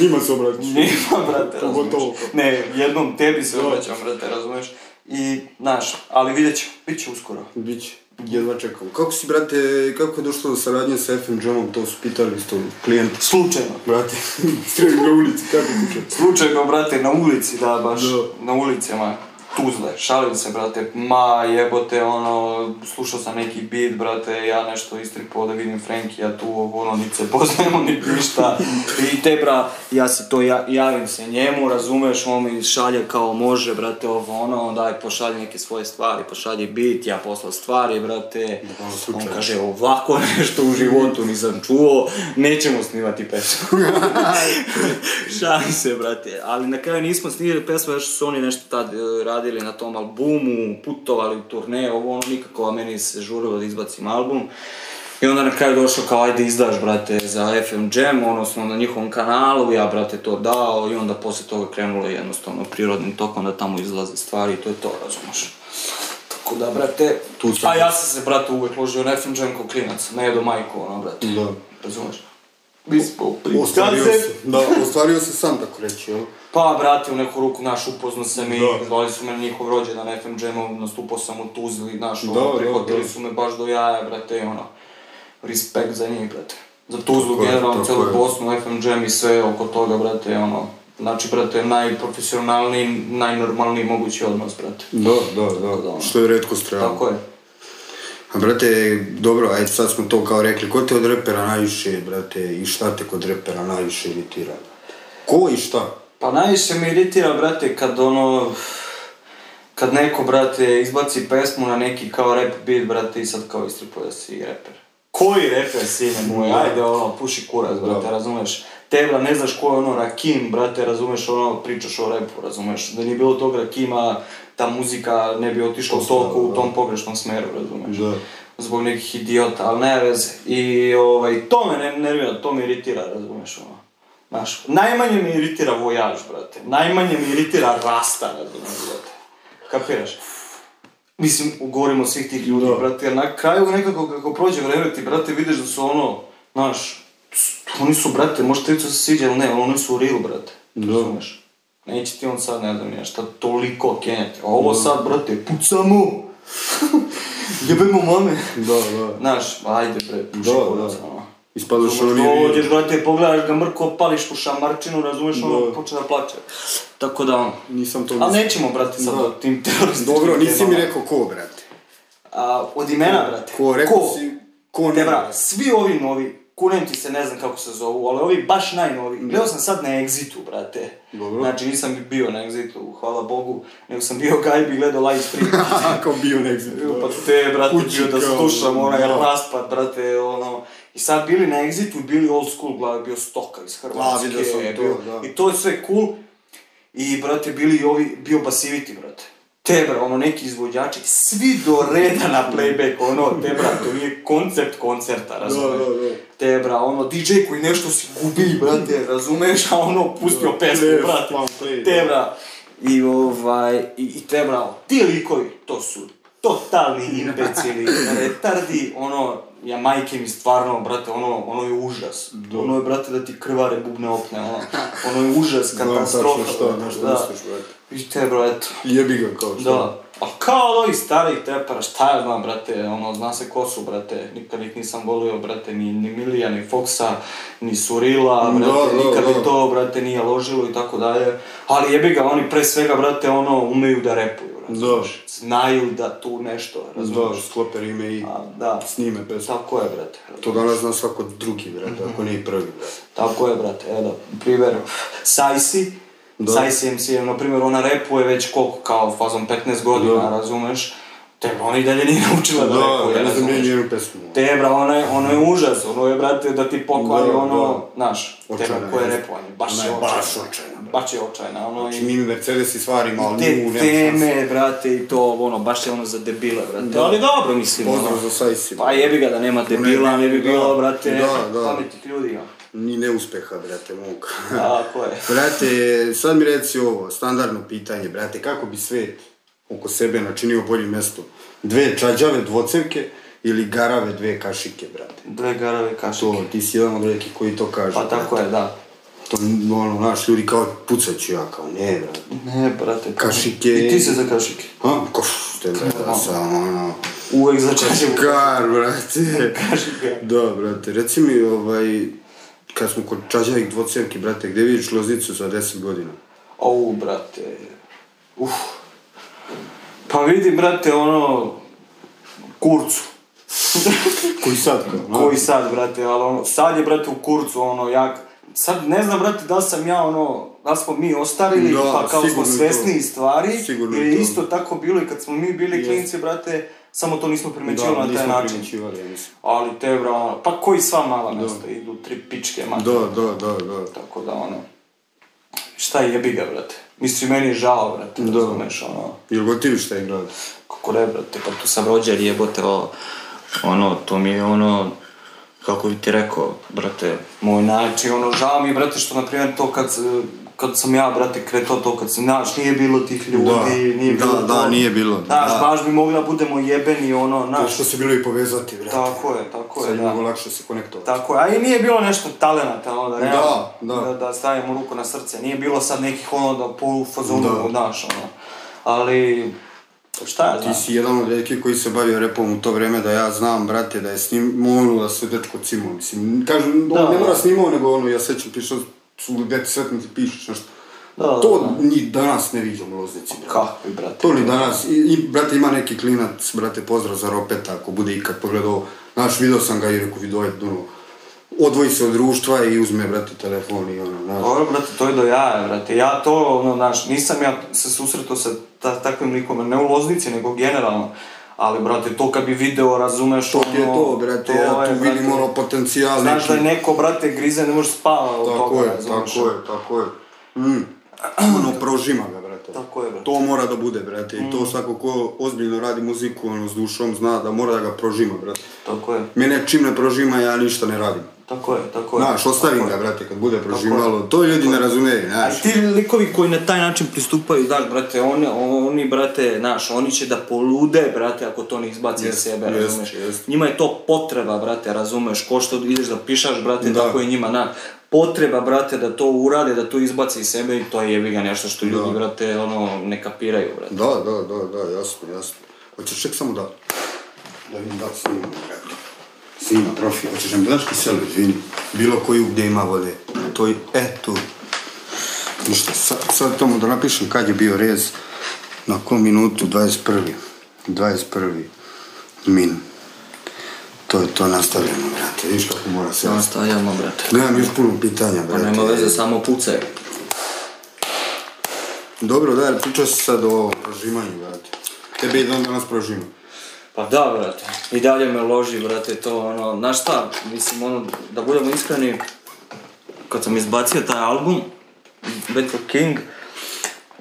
[SPEAKER 1] Njima se obratiš.
[SPEAKER 2] Nema, brate,
[SPEAKER 1] Pogotovo.
[SPEAKER 2] razumeš. Ne, jednom tebi se obraćam, brate, razumeš. I, znaš, ali vidjet ćemo, bit će uskoro.
[SPEAKER 1] Biće. Jedva čekam. Kako si, brate, kako je došlo do saradnje sa FM Jamom, to su pitali isto klijenti.
[SPEAKER 2] Slučajno.
[SPEAKER 1] Brate, strelim na ulici, kako kuće?
[SPEAKER 2] Slučajno, brate, na ulici, da, baš,
[SPEAKER 1] Da.
[SPEAKER 2] na ulicama. Tuzle, šalim se, brate, ma jebote, ono, slušao sam neki beat, brate, ja nešto istripao da vidim Frankija tu, ovo, ono, niti se poznajemo, niti ništa. I te, bra, ja se to, ja, javim se njemu, razumeš, on mi šalje kao može, brate, ovo, ono, on daj, pošalje neke svoje stvari, pošalje beat, ja poslao stvari, brate.
[SPEAKER 1] Da, ono,
[SPEAKER 2] on
[SPEAKER 1] slučajno.
[SPEAKER 2] kaže, ovako nešto u životu nisam čuo, nećemo snimati pesmu. Šalim se, brate. Ali na kraju nismo snimili pesmu, još su oni nešto tad e, radili na tom albumu, putovali u turneje, ovo ono nikako, a meni se žurilo da izbacim album. I onda na kraju došao kao, ajde izdaš, brate, za FM Jam, odnosno na njihovom kanalu, ja, brate, to dao i onda poslije toga krenulo jednostavno prirodnim tokom da tamo izlaze stvari i to je to, razumeš. Tako da, brate,
[SPEAKER 1] Tu sam.
[SPEAKER 2] a ja sam se, brate, uvek ložio na FM Jam kao klinac, ne jedo majku, ono, brate,
[SPEAKER 1] Da.
[SPEAKER 2] razumeš. Mi smo
[SPEAKER 1] Ostvario
[SPEAKER 2] prikaze-
[SPEAKER 1] se, da, ostvario se sam, tako reći, jel?
[SPEAKER 2] pa, brate, u neku ruku, naš, upoznao sam i
[SPEAKER 1] Da.
[SPEAKER 2] zvali su me na njihov rođendan na FM Jamu, nastupao sam u Tuzli, naš,
[SPEAKER 1] Da, da,
[SPEAKER 2] ono, prihvatili
[SPEAKER 1] da.
[SPEAKER 2] su me baš do jaja, brate, i ono, respekt za njih, brate. Za Tuzlu,
[SPEAKER 1] Tako je,
[SPEAKER 2] generalno,
[SPEAKER 1] tako
[SPEAKER 2] celu
[SPEAKER 1] je.
[SPEAKER 2] Bosnu, FM Jam i sve oko toga, brate, ono, znači, brate, najprofesionalniji, najnormalniji mogući odnos, brate.
[SPEAKER 1] Da, da, da,
[SPEAKER 2] da, ono.
[SPEAKER 1] Što je redko strano.
[SPEAKER 2] Tako je.
[SPEAKER 1] A brate, dobro, ajde sad smo to kao rekli, ko te od repera najviše, brate, i šta te kod repera najviše iritira? Ko i šta?
[SPEAKER 2] Pa najviše me iritira, brate, kad ono... Kad neko, brate, izbaci pesmu na neki kao rap beat, brate, i sad kao istripuje da si reper. Koji reper, sine moj, ajde, ono, puši kurac, brate, razumeš? Tebra, ne znaš ko je ono Rakim, brate, razumeš, ono, pričaš o repu, razumeš. Da nije bilo tog Rakima, ta muzika ne bi otišla
[SPEAKER 1] Točno,
[SPEAKER 2] toliko u
[SPEAKER 1] da.
[SPEAKER 2] tom pogrešnom smeru, razumeš.
[SPEAKER 1] Da.
[SPEAKER 2] Zbog nekih idiota, ali ne veze. I ovaj, to me ne nervira, to me iritira, razumeš, ono. Znaš, najmanje me iritira vojaž, brate. Najmanje me iritira rasta, razumeš, brate. Kapiraš? Mislim, govorimo o svih tih ljudi,
[SPEAKER 1] Da.
[SPEAKER 2] brate, jer na kraju nekako kako prođe vreme ti, brate, vidiš da su ono, znaš, oni su, brate, možda ti se sviđa ili ne, ali oni su real, brate.
[SPEAKER 1] Da.
[SPEAKER 2] Razumeš? Neće ti on sad, ne znam, ja šta toliko kenjati. A ovo sad, brate, pucamo! Jebemo mame!
[SPEAKER 1] Da, da.
[SPEAKER 2] Znaš, ajde, bre, puši
[SPEAKER 1] Da, Pa
[SPEAKER 2] kurac,
[SPEAKER 1] da.
[SPEAKER 2] ono.
[SPEAKER 1] Ispadaš
[SPEAKER 2] Što
[SPEAKER 1] oni...
[SPEAKER 2] dođeš, brate, pogledaš ga mrko, pališ mu šamarčinu, razumeš, ono,
[SPEAKER 1] Da.
[SPEAKER 2] počne da plače. Tako da, ono.
[SPEAKER 1] Nisam to
[SPEAKER 2] Ali
[SPEAKER 1] mislio.
[SPEAKER 2] nećemo, brate, sad
[SPEAKER 1] Da.
[SPEAKER 2] o tim terorističkim
[SPEAKER 1] Dobro, nisi mi
[SPEAKER 2] temama.
[SPEAKER 1] rekao ko, brate.
[SPEAKER 2] A, od imena, brate.
[SPEAKER 1] Ko, rekao si... Ko
[SPEAKER 2] Ne,
[SPEAKER 1] ne,
[SPEAKER 2] brate, svi ovi novi, kunem ti se, ne znam kako se zovu, ali ovi baš najnovi. Gledao sam sad na Exitu, brate.
[SPEAKER 1] Dobro.
[SPEAKER 2] Znači, nisam bio na Exitu, hvala Bogu, nego sam bio gajbi i gledao live stream.
[SPEAKER 1] Kao bio nek
[SPEAKER 2] Evo, Pa te, brate,
[SPEAKER 1] Kući
[SPEAKER 2] bio da
[SPEAKER 1] kao,
[SPEAKER 2] slušam onaj
[SPEAKER 1] da.
[SPEAKER 2] raspad, brate, ono... I sad bili na Exitu, bili old school, glava bio Stoka iz Hrvatske.
[SPEAKER 1] Da, vidio sam to,
[SPEAKER 2] bio-
[SPEAKER 1] da.
[SPEAKER 2] I to je sve cool. I, brate, bili i ovi, bio Basivity, brate. Tebra, ono, neki izvođači, svi do reda na playback, ono, Tebra, to nije koncept koncerta, razumeš?
[SPEAKER 1] da, da.
[SPEAKER 2] Tebra, ono, DJ koji nešto si gubi, brate, razumeš, a ono, pustio pesmu,
[SPEAKER 1] play,
[SPEAKER 2] brate,
[SPEAKER 1] fan play, da.
[SPEAKER 2] Tebra, Tebra i ovaj, i, i Tebra, ti likovi, to su totalni imbecili, retardi, ono, ja majke mi stvarno, brate, ono, ono je užas. Ono je, brate, da ti krvare bubne opne, ono, ono je užas,
[SPEAKER 1] Znam
[SPEAKER 2] katastrofa.
[SPEAKER 1] tačno šta,
[SPEAKER 2] brate,
[SPEAKER 1] na što
[SPEAKER 2] da.
[SPEAKER 1] misliš, brate.
[SPEAKER 2] I Tebra, eto,
[SPEAKER 1] Jebi ga kao što.
[SPEAKER 2] da. A kao od ovih starih tepara, šta ja znam, brate, ono, zna se ko su, brate, nikad ih nisam volio, brate, ni, ni Milija, ni Foxa, ni Surila,
[SPEAKER 1] Da,
[SPEAKER 2] brate,
[SPEAKER 1] da,
[SPEAKER 2] nikad mi
[SPEAKER 1] da.
[SPEAKER 2] to, brate, nije ložilo i tako dalje, ali jebi ga, oni pre svega, brate, ono, umeju da repuju, brate.
[SPEAKER 1] Da.
[SPEAKER 2] Znaju da tu nešto, razumiješ?
[SPEAKER 1] Da, sklope rime i
[SPEAKER 2] A, da.
[SPEAKER 1] snime pesmu.
[SPEAKER 2] Tako je, brate.
[SPEAKER 1] To danas zna svako drugi,
[SPEAKER 2] Mhm.
[SPEAKER 1] brate, ako ne i prvi, brate.
[SPEAKER 2] Tako je, brate, evo, primjer, Sajsi,
[SPEAKER 1] Da.
[SPEAKER 2] Sajsi MC, je, na primjer, ona repuje već koliko, kao fazom 15 godina,
[SPEAKER 1] Da.
[SPEAKER 2] razumeš? Te ona i dalje nije naučila da,
[SPEAKER 1] Da,
[SPEAKER 2] repuje,
[SPEAKER 1] ja ne znam
[SPEAKER 2] razumeš?
[SPEAKER 1] njenu pesmu.
[SPEAKER 2] Te, bra, ono je, ono je užas, ono je, brate, da ti pokvari
[SPEAKER 1] Da,
[SPEAKER 2] ono,
[SPEAKER 1] da.
[SPEAKER 2] znaš, te,
[SPEAKER 1] Očajna
[SPEAKER 2] bra, koje
[SPEAKER 1] je.
[SPEAKER 2] repovanje, baš
[SPEAKER 1] Ona
[SPEAKER 2] je
[SPEAKER 1] je
[SPEAKER 2] očajna.
[SPEAKER 1] baš očajna, brate.
[SPEAKER 2] Baš je očajna, ono
[SPEAKER 1] Znači,
[SPEAKER 2] i...
[SPEAKER 1] mi Mercedes i stvari, ali
[SPEAKER 2] Te
[SPEAKER 1] nju nema šanse.
[SPEAKER 2] teme, brate, i to, ono, baš je ono za debile, brate. Ali dobro, mislim,
[SPEAKER 1] Pozdrav
[SPEAKER 2] ono.
[SPEAKER 1] za Sajsi.
[SPEAKER 2] Pa jebi ga da nema debila, ne bi
[SPEAKER 1] da,
[SPEAKER 2] bilo, brate,
[SPEAKER 1] da, da.
[SPEAKER 2] pametnih ljudi, ono.
[SPEAKER 1] Ni neuspeha, brate, mog.
[SPEAKER 2] Tako je.
[SPEAKER 1] Brate, sad mi reci ovo, standardno pitanje, brate, kako bi svet oko sebe načinio boljim mestom? Dve čađave dvocevke ili garave dve kašike, brate?
[SPEAKER 2] Dve garave kašike.
[SPEAKER 1] To, ti si jedan od rekih koji to kaže.
[SPEAKER 2] Pa tako je, da.
[SPEAKER 1] To, ono, znaš, ljudi kao, pucat ću ja, kao, ne, brate.
[SPEAKER 2] Ne, brate.
[SPEAKER 1] Kašike.
[SPEAKER 2] I ti se za kašike.
[SPEAKER 1] Ha, kof, te brate,
[SPEAKER 2] Kao.
[SPEAKER 1] samo, ono,
[SPEAKER 2] Uvek za čačevu.
[SPEAKER 1] kar, brate.
[SPEAKER 2] Kašike.
[SPEAKER 1] Da, brate, reci mi, ovaj, kad smo kod čađavih dvocevki, brate, gdje vidiš lozicu za 10 godina?
[SPEAKER 2] Au, brate. Uf. Pa vidi, brate, ono... Kurcu.
[SPEAKER 1] Koji sad, kao, no?
[SPEAKER 2] Koji sad, brate, ali ono... Sad je, brate, u kurcu, ono, jak... Sad ne znam, brate, da li sam ja, ono... Da li smo mi ostarili,
[SPEAKER 1] Da,
[SPEAKER 2] pa kao smo
[SPEAKER 1] sigurno je
[SPEAKER 2] svesni
[SPEAKER 1] to.
[SPEAKER 2] stvari.
[SPEAKER 1] Sigurno je
[SPEAKER 2] Jer je
[SPEAKER 1] to.
[SPEAKER 2] isto tako bilo i kad smo mi bili klinci, brate, samo to nismo primećivali na taj
[SPEAKER 1] nismo
[SPEAKER 2] način.
[SPEAKER 1] primećivali, ja mislim.
[SPEAKER 2] Ali te bra, ono, pa koji sva mala mesta, idu tri pičke mata,
[SPEAKER 1] Da, da, da, da.
[SPEAKER 2] tako da ono, šta jebi ga, brate. Mislim, meni je žao, brate, da. razumeš, ono,
[SPEAKER 1] Jel gotiviš taj grad?
[SPEAKER 2] kako ne, brate, pa tu sam rođer jebote, o, ono, to mi je ono, kako bi ti rekao, brate, moj način, ono, žao mi je, brate, što, na primjer, to kad, eh, kad sam ja, brate, kretao to, kad sam, znaš, nije bilo tih ljudi,
[SPEAKER 1] Da.
[SPEAKER 2] nije
[SPEAKER 1] Da,
[SPEAKER 2] bilo
[SPEAKER 1] da,
[SPEAKER 2] to.
[SPEAKER 1] nije bilo,
[SPEAKER 2] Znaš,
[SPEAKER 1] da.
[SPEAKER 2] baš bi mogli da budemo jebeni, ono,
[SPEAKER 1] Da,
[SPEAKER 2] znaš,
[SPEAKER 1] što se bilo i povezati, brate.
[SPEAKER 2] tako je, tako je,
[SPEAKER 1] Sad je
[SPEAKER 2] da.
[SPEAKER 1] mnogo lakše se konektovati.
[SPEAKER 2] Tako je, a i nije bilo nešto talenata, ono, da,
[SPEAKER 1] Da,
[SPEAKER 2] realno,
[SPEAKER 1] da.
[SPEAKER 2] da, da stavimo ruku na srce, nije bilo sad nekih ono da po fazonu,
[SPEAKER 1] Da.
[SPEAKER 2] znaš, ono, ali, šta ja
[SPEAKER 1] Ti
[SPEAKER 2] znam,
[SPEAKER 1] si jedan od redkih koji se bavio repom u to vrijeme da ja znam, brate, da je snimao ono da se dečko cimo, mislim, kažem,
[SPEAKER 2] Da,
[SPEAKER 1] on ne mora
[SPEAKER 2] da.
[SPEAKER 1] snimao, nego ono, ja sećam, pišao, su deti sretni ti pišeš nešto.
[SPEAKER 2] Da, da,
[SPEAKER 1] to ni danas ne vidim u Loznici, brate.
[SPEAKER 2] kakvi, brate.
[SPEAKER 1] To ni danas, I, i, brate, ima neki klinac, brate, pozdrav za Ropeta, ako bude ikad pogledao, znaš, video sam ga i rekao, video je, ono, odvoji se od društva i uzme, brate, telefon i ono, znaš.
[SPEAKER 2] Dobro, brate, to je do jaja, brate. Ja to, ono, znaš, nisam ja se susretao sa ta, takvim likom, ne u Loznici, nego generalno. Ali, brate, to kad bi video, razumeš, ono,
[SPEAKER 1] To ti je to, brate, ja tu vidim ono potencijal
[SPEAKER 2] Znaš
[SPEAKER 1] neki.
[SPEAKER 2] da neko, brate, grize, ne može spava od
[SPEAKER 1] Tako
[SPEAKER 2] toga,
[SPEAKER 1] je,
[SPEAKER 2] razumeš.
[SPEAKER 1] tako je, tako je. Mm. Ono, prožima ga, brate.
[SPEAKER 2] Tako Mm. je, brate.
[SPEAKER 1] To mora da bude, brate. I to svako ko ozbiljno radi muziku, ono, s dušom, zna da mora da ga prožima, brate.
[SPEAKER 2] Tako je,
[SPEAKER 1] Mene čim ne prožima, ja ništa ne radim.
[SPEAKER 2] tako je, tako je.
[SPEAKER 1] Znaš, ostavim
[SPEAKER 2] Tako
[SPEAKER 1] ga,
[SPEAKER 2] je.
[SPEAKER 1] brate, kad bude prožimalo. To ljudi ne razumeju,
[SPEAKER 2] A
[SPEAKER 1] znaš.
[SPEAKER 2] ti likovi koji na taj način pristupaju, da, brate, oni, oni, brate, znaš, oni će da polude, brate, ako to ne izbaci iz
[SPEAKER 1] Jest,
[SPEAKER 2] sebe,
[SPEAKER 1] jest,
[SPEAKER 2] razumeš?
[SPEAKER 1] jest.
[SPEAKER 2] Njima je to potreba, brate, razumeš? Ko što ideš da pišaš, brate,
[SPEAKER 1] Da.
[SPEAKER 2] tako je njima, na, potreba, brate, da to urade, da to izbaci iz sebe i to je jebi ga nešto što ljudi,
[SPEAKER 1] Da.
[SPEAKER 2] brate, ono, ne kapiraju, brate.
[SPEAKER 1] Da, da, da, da, jasno, jasno. Hoćeš ček samo da... Da vidim da li snimam, brate. Snima profil, hoćeš nam gledaš kiselu, izvini. Bilo koju gdje ima vode. To je, e, tu. Ništa, sad, sad tomu da napišem kad je bio rez. Na kom minutu, 21. 21. Min. To je to nastavljeno, brate. Viš kako mora se nastaviti.
[SPEAKER 2] Nastavljamo, brate.
[SPEAKER 1] Gledam još puno pitanja,
[SPEAKER 2] Pa
[SPEAKER 1] brate.
[SPEAKER 2] nema veze, samo pucaj.
[SPEAKER 1] Dobro, da, pričao si sad o prožimanju, brate. Tebe i dan danas prožima.
[SPEAKER 2] Pa da, brate. I dalje me loži, brate, to ono, znaš šta, mislim, ono, da budemo iskreni, kad sam izbacio taj album, Battle King,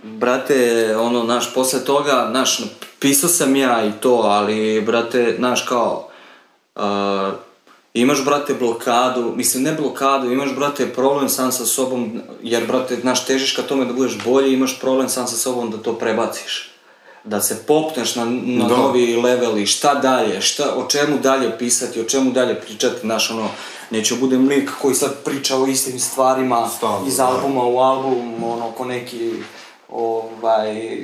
[SPEAKER 2] brate, ono, naš, posle toga, naš, pisao sam ja i to, ali, brate, naš, kao, a, imaš, brate, blokadu, mislim, ne blokadu, imaš, brate, problem sam sa sobom, jer, brate, znaš, težiš ka tome da budeš bolji, imaš problem sam sa sobom da to prebaciš. Da se popneš na, na
[SPEAKER 1] Da.
[SPEAKER 2] novi i leveli, šta dalje, šta, o čemu dalje pisati, o čemu dalje pričati, znaš, ono, neću budem lik koji sad priča o istim stvarima
[SPEAKER 1] Stalno,
[SPEAKER 2] iz
[SPEAKER 1] da.
[SPEAKER 2] albuma u album, ono, ko neki, ovaj,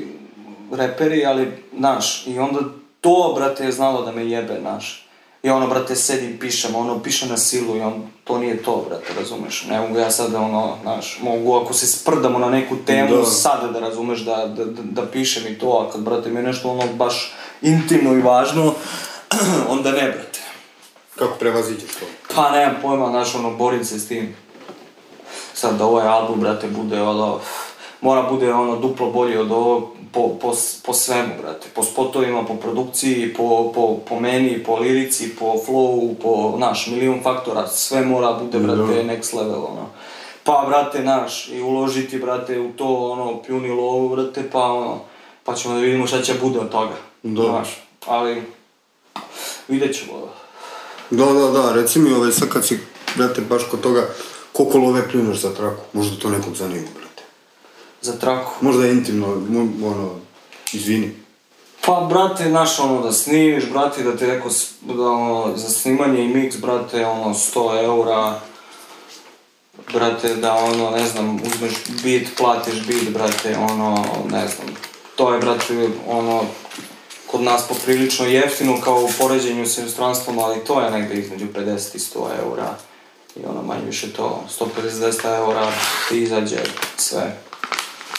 [SPEAKER 2] reperi, ali, znaš, i onda to, brate, je znalo da me jebe, znaš. I ono, brate, sedim, pišem, ono, pišem na silu i on, to nije to, brate, razumeš. Ne mogu ja sad, ono, znaš, mogu ako se sprdamo na neku temu,
[SPEAKER 1] Da.
[SPEAKER 2] sada da razumeš da, da, da, da pišem i to, a kad, brate, mi je nešto ono baš intimno i važno, onda ne, brate.
[SPEAKER 1] Kako prevaziđeš to?
[SPEAKER 2] Pa nemam pojma, znaš, ono, borim se s tim. Sad da ovaj album, brate, bude ono, mora bude ono duplo bolji od ovog po, po, s- po svemu, brate. Po spotovima, po produkciji, po, po, po meni, po lirici, po flowu, po, naš, milijun faktora. Sve mora bude, brate, next level, ono. Pa, brate, naš, i uložiti, brate, u to, ono, pljuni lovu, brate, pa, ono, pa ćemo da vidimo šta će bude od toga.
[SPEAKER 1] Da.
[SPEAKER 2] Znaš, ali, vidjet ćemo,
[SPEAKER 1] Da, da, da, reci mi ovaj, sad kad si, brate, baš kod toga, koliko love pljuneš za traku? Možda to nekog zanima, brate.
[SPEAKER 2] za traku.
[SPEAKER 1] Možda je intimno, mo- ono, izvini.
[SPEAKER 2] Pa, brate, znaš, ono, da snimiš, brate, da ti rekao, s- da, ono, za snimanje i miks, brate, ono, 100 eura, brate, da, ono, ne znam, uzmeš bit, platiš bit, brate, ono, ne znam, to je, brate, ono, kod nas poprilično jeftino, kao u poređenju s inostranstvom, ali to je negdje između 50 i 100 eura, i ono, manje više to, 150-200 eura, ti izađe sve,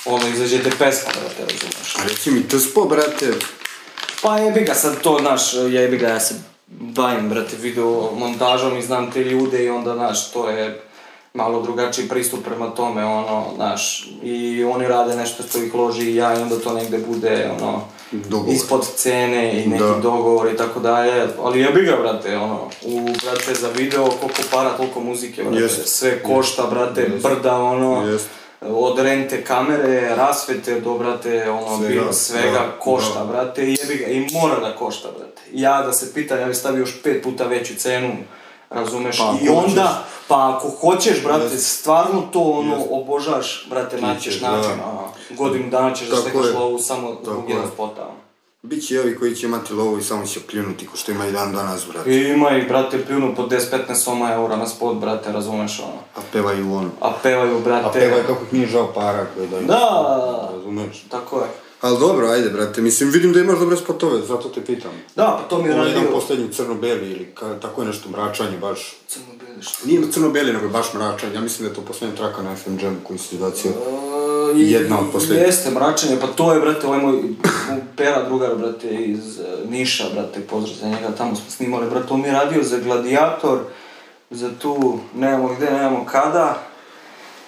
[SPEAKER 2] ono, izađe te pesma, brate, razumeš.
[SPEAKER 1] A reci mi, tspo, brate,
[SPEAKER 2] Pa jebi ga sad to, znaš, jebi ga, ja se bavim, brate, video montažom i znam te ljude i onda, znaš, to je malo drugačiji pristup prema tome, ono, znaš, i oni rade nešto što ih loži i ja i onda to negde bude, ono,
[SPEAKER 1] Dogovor.
[SPEAKER 2] ispod cene i neki
[SPEAKER 1] Da.
[SPEAKER 2] dogovor i tako dalje, ali jebi ga, brate, ono, u, brate, za video koliko para, toliko muzike, brate,
[SPEAKER 1] Jeste.
[SPEAKER 2] sve košta, brate, brda, ono,
[SPEAKER 1] Jeste.
[SPEAKER 2] od rente kamere, rasvete, do, brate, ono,
[SPEAKER 1] Svega,
[SPEAKER 2] bilo svega
[SPEAKER 1] da,
[SPEAKER 2] košta,
[SPEAKER 1] da.
[SPEAKER 2] brate, i jebi ga, i mora da košta, brate. Ja da se pitam, ja bi stavio još pet puta veću cenu, razumeš,
[SPEAKER 1] Pa
[SPEAKER 2] i
[SPEAKER 1] ako
[SPEAKER 2] onda, pa ako hoćeš, brate,
[SPEAKER 1] Jest.
[SPEAKER 2] stvarno to, ono, obožavaš, brate, naćeš
[SPEAKER 1] Hoćeš, da.
[SPEAKER 2] način, ono. godinu dana ćeš da
[SPEAKER 1] Tako
[SPEAKER 2] stekaš
[SPEAKER 1] je.
[SPEAKER 2] lovu samo zbog
[SPEAKER 1] Tako
[SPEAKER 2] jednog
[SPEAKER 1] je.
[SPEAKER 2] spota, ono.
[SPEAKER 1] bit će i ovi koji će imati lovu i samo će pljunuti, ko što ima i dan danas, brate.
[SPEAKER 2] I ima i, brate, pljunu po 10-15 soma eura na spot, brate, razumeš, ono.
[SPEAKER 1] A pevaju ono.
[SPEAKER 2] A pevaju,
[SPEAKER 1] A
[SPEAKER 2] brate,
[SPEAKER 1] pevaju kako ih nije žao para koje daju.
[SPEAKER 2] Da.
[SPEAKER 1] Razumeš?
[SPEAKER 2] tako je.
[SPEAKER 1] Ali dobro, ajde, brate, mislim, vidim da imaš dobre spotove, zato te pitam.
[SPEAKER 2] Da, pa to mi je
[SPEAKER 1] Ovo je jedan
[SPEAKER 2] radio.
[SPEAKER 1] posljednji crno-beli ili ka- tako je nešto mračanje baš.
[SPEAKER 2] Crno bijede, šta?
[SPEAKER 1] Nije crno-beli, nego je baš mračan. Ja mislim da je to posljednja traka na FM Jamu koju si izbacio.
[SPEAKER 2] E,
[SPEAKER 1] Jedna od posljednjih.
[SPEAKER 2] Jeste, mračenje, pa to je, brate, ovaj moj pera drugar, brate, iz e, Niša, brate, pozdrav za njega, tamo smo snimali, brate, on mi je radio za Gladiator, za tu, nemamo gde, nemamo kada,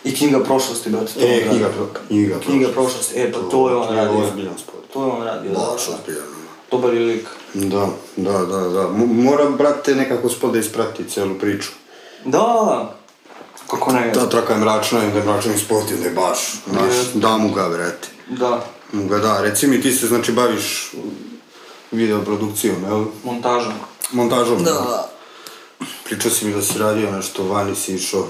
[SPEAKER 2] i Kinga prošlosti, brate, to je
[SPEAKER 1] E, knjiga, pro- knjiga,
[SPEAKER 2] Knjiga prošlosti, e, pa to je on
[SPEAKER 1] knjiga
[SPEAKER 2] radio.
[SPEAKER 1] ozbiljan spot.
[SPEAKER 2] To je on radio, da.
[SPEAKER 1] Baš ozbiljan. ono.
[SPEAKER 2] dobar je lik.
[SPEAKER 1] Da, da, da, da. Mo- Moram, brate, nekako spod da isprati celu priču.
[SPEAKER 2] Da, kako ne,
[SPEAKER 1] Ta traka je mračna, i onda je mračan spot, i onda je baš, znaš,
[SPEAKER 2] Je.
[SPEAKER 1] da mu ga, brate.
[SPEAKER 2] da,
[SPEAKER 1] Mu ga da, reci mi, ti se, znači, baviš videoprodukcijom, jel?
[SPEAKER 2] montaža.
[SPEAKER 1] Montažom. Pričao si mi da si radio nešto, vani si išao.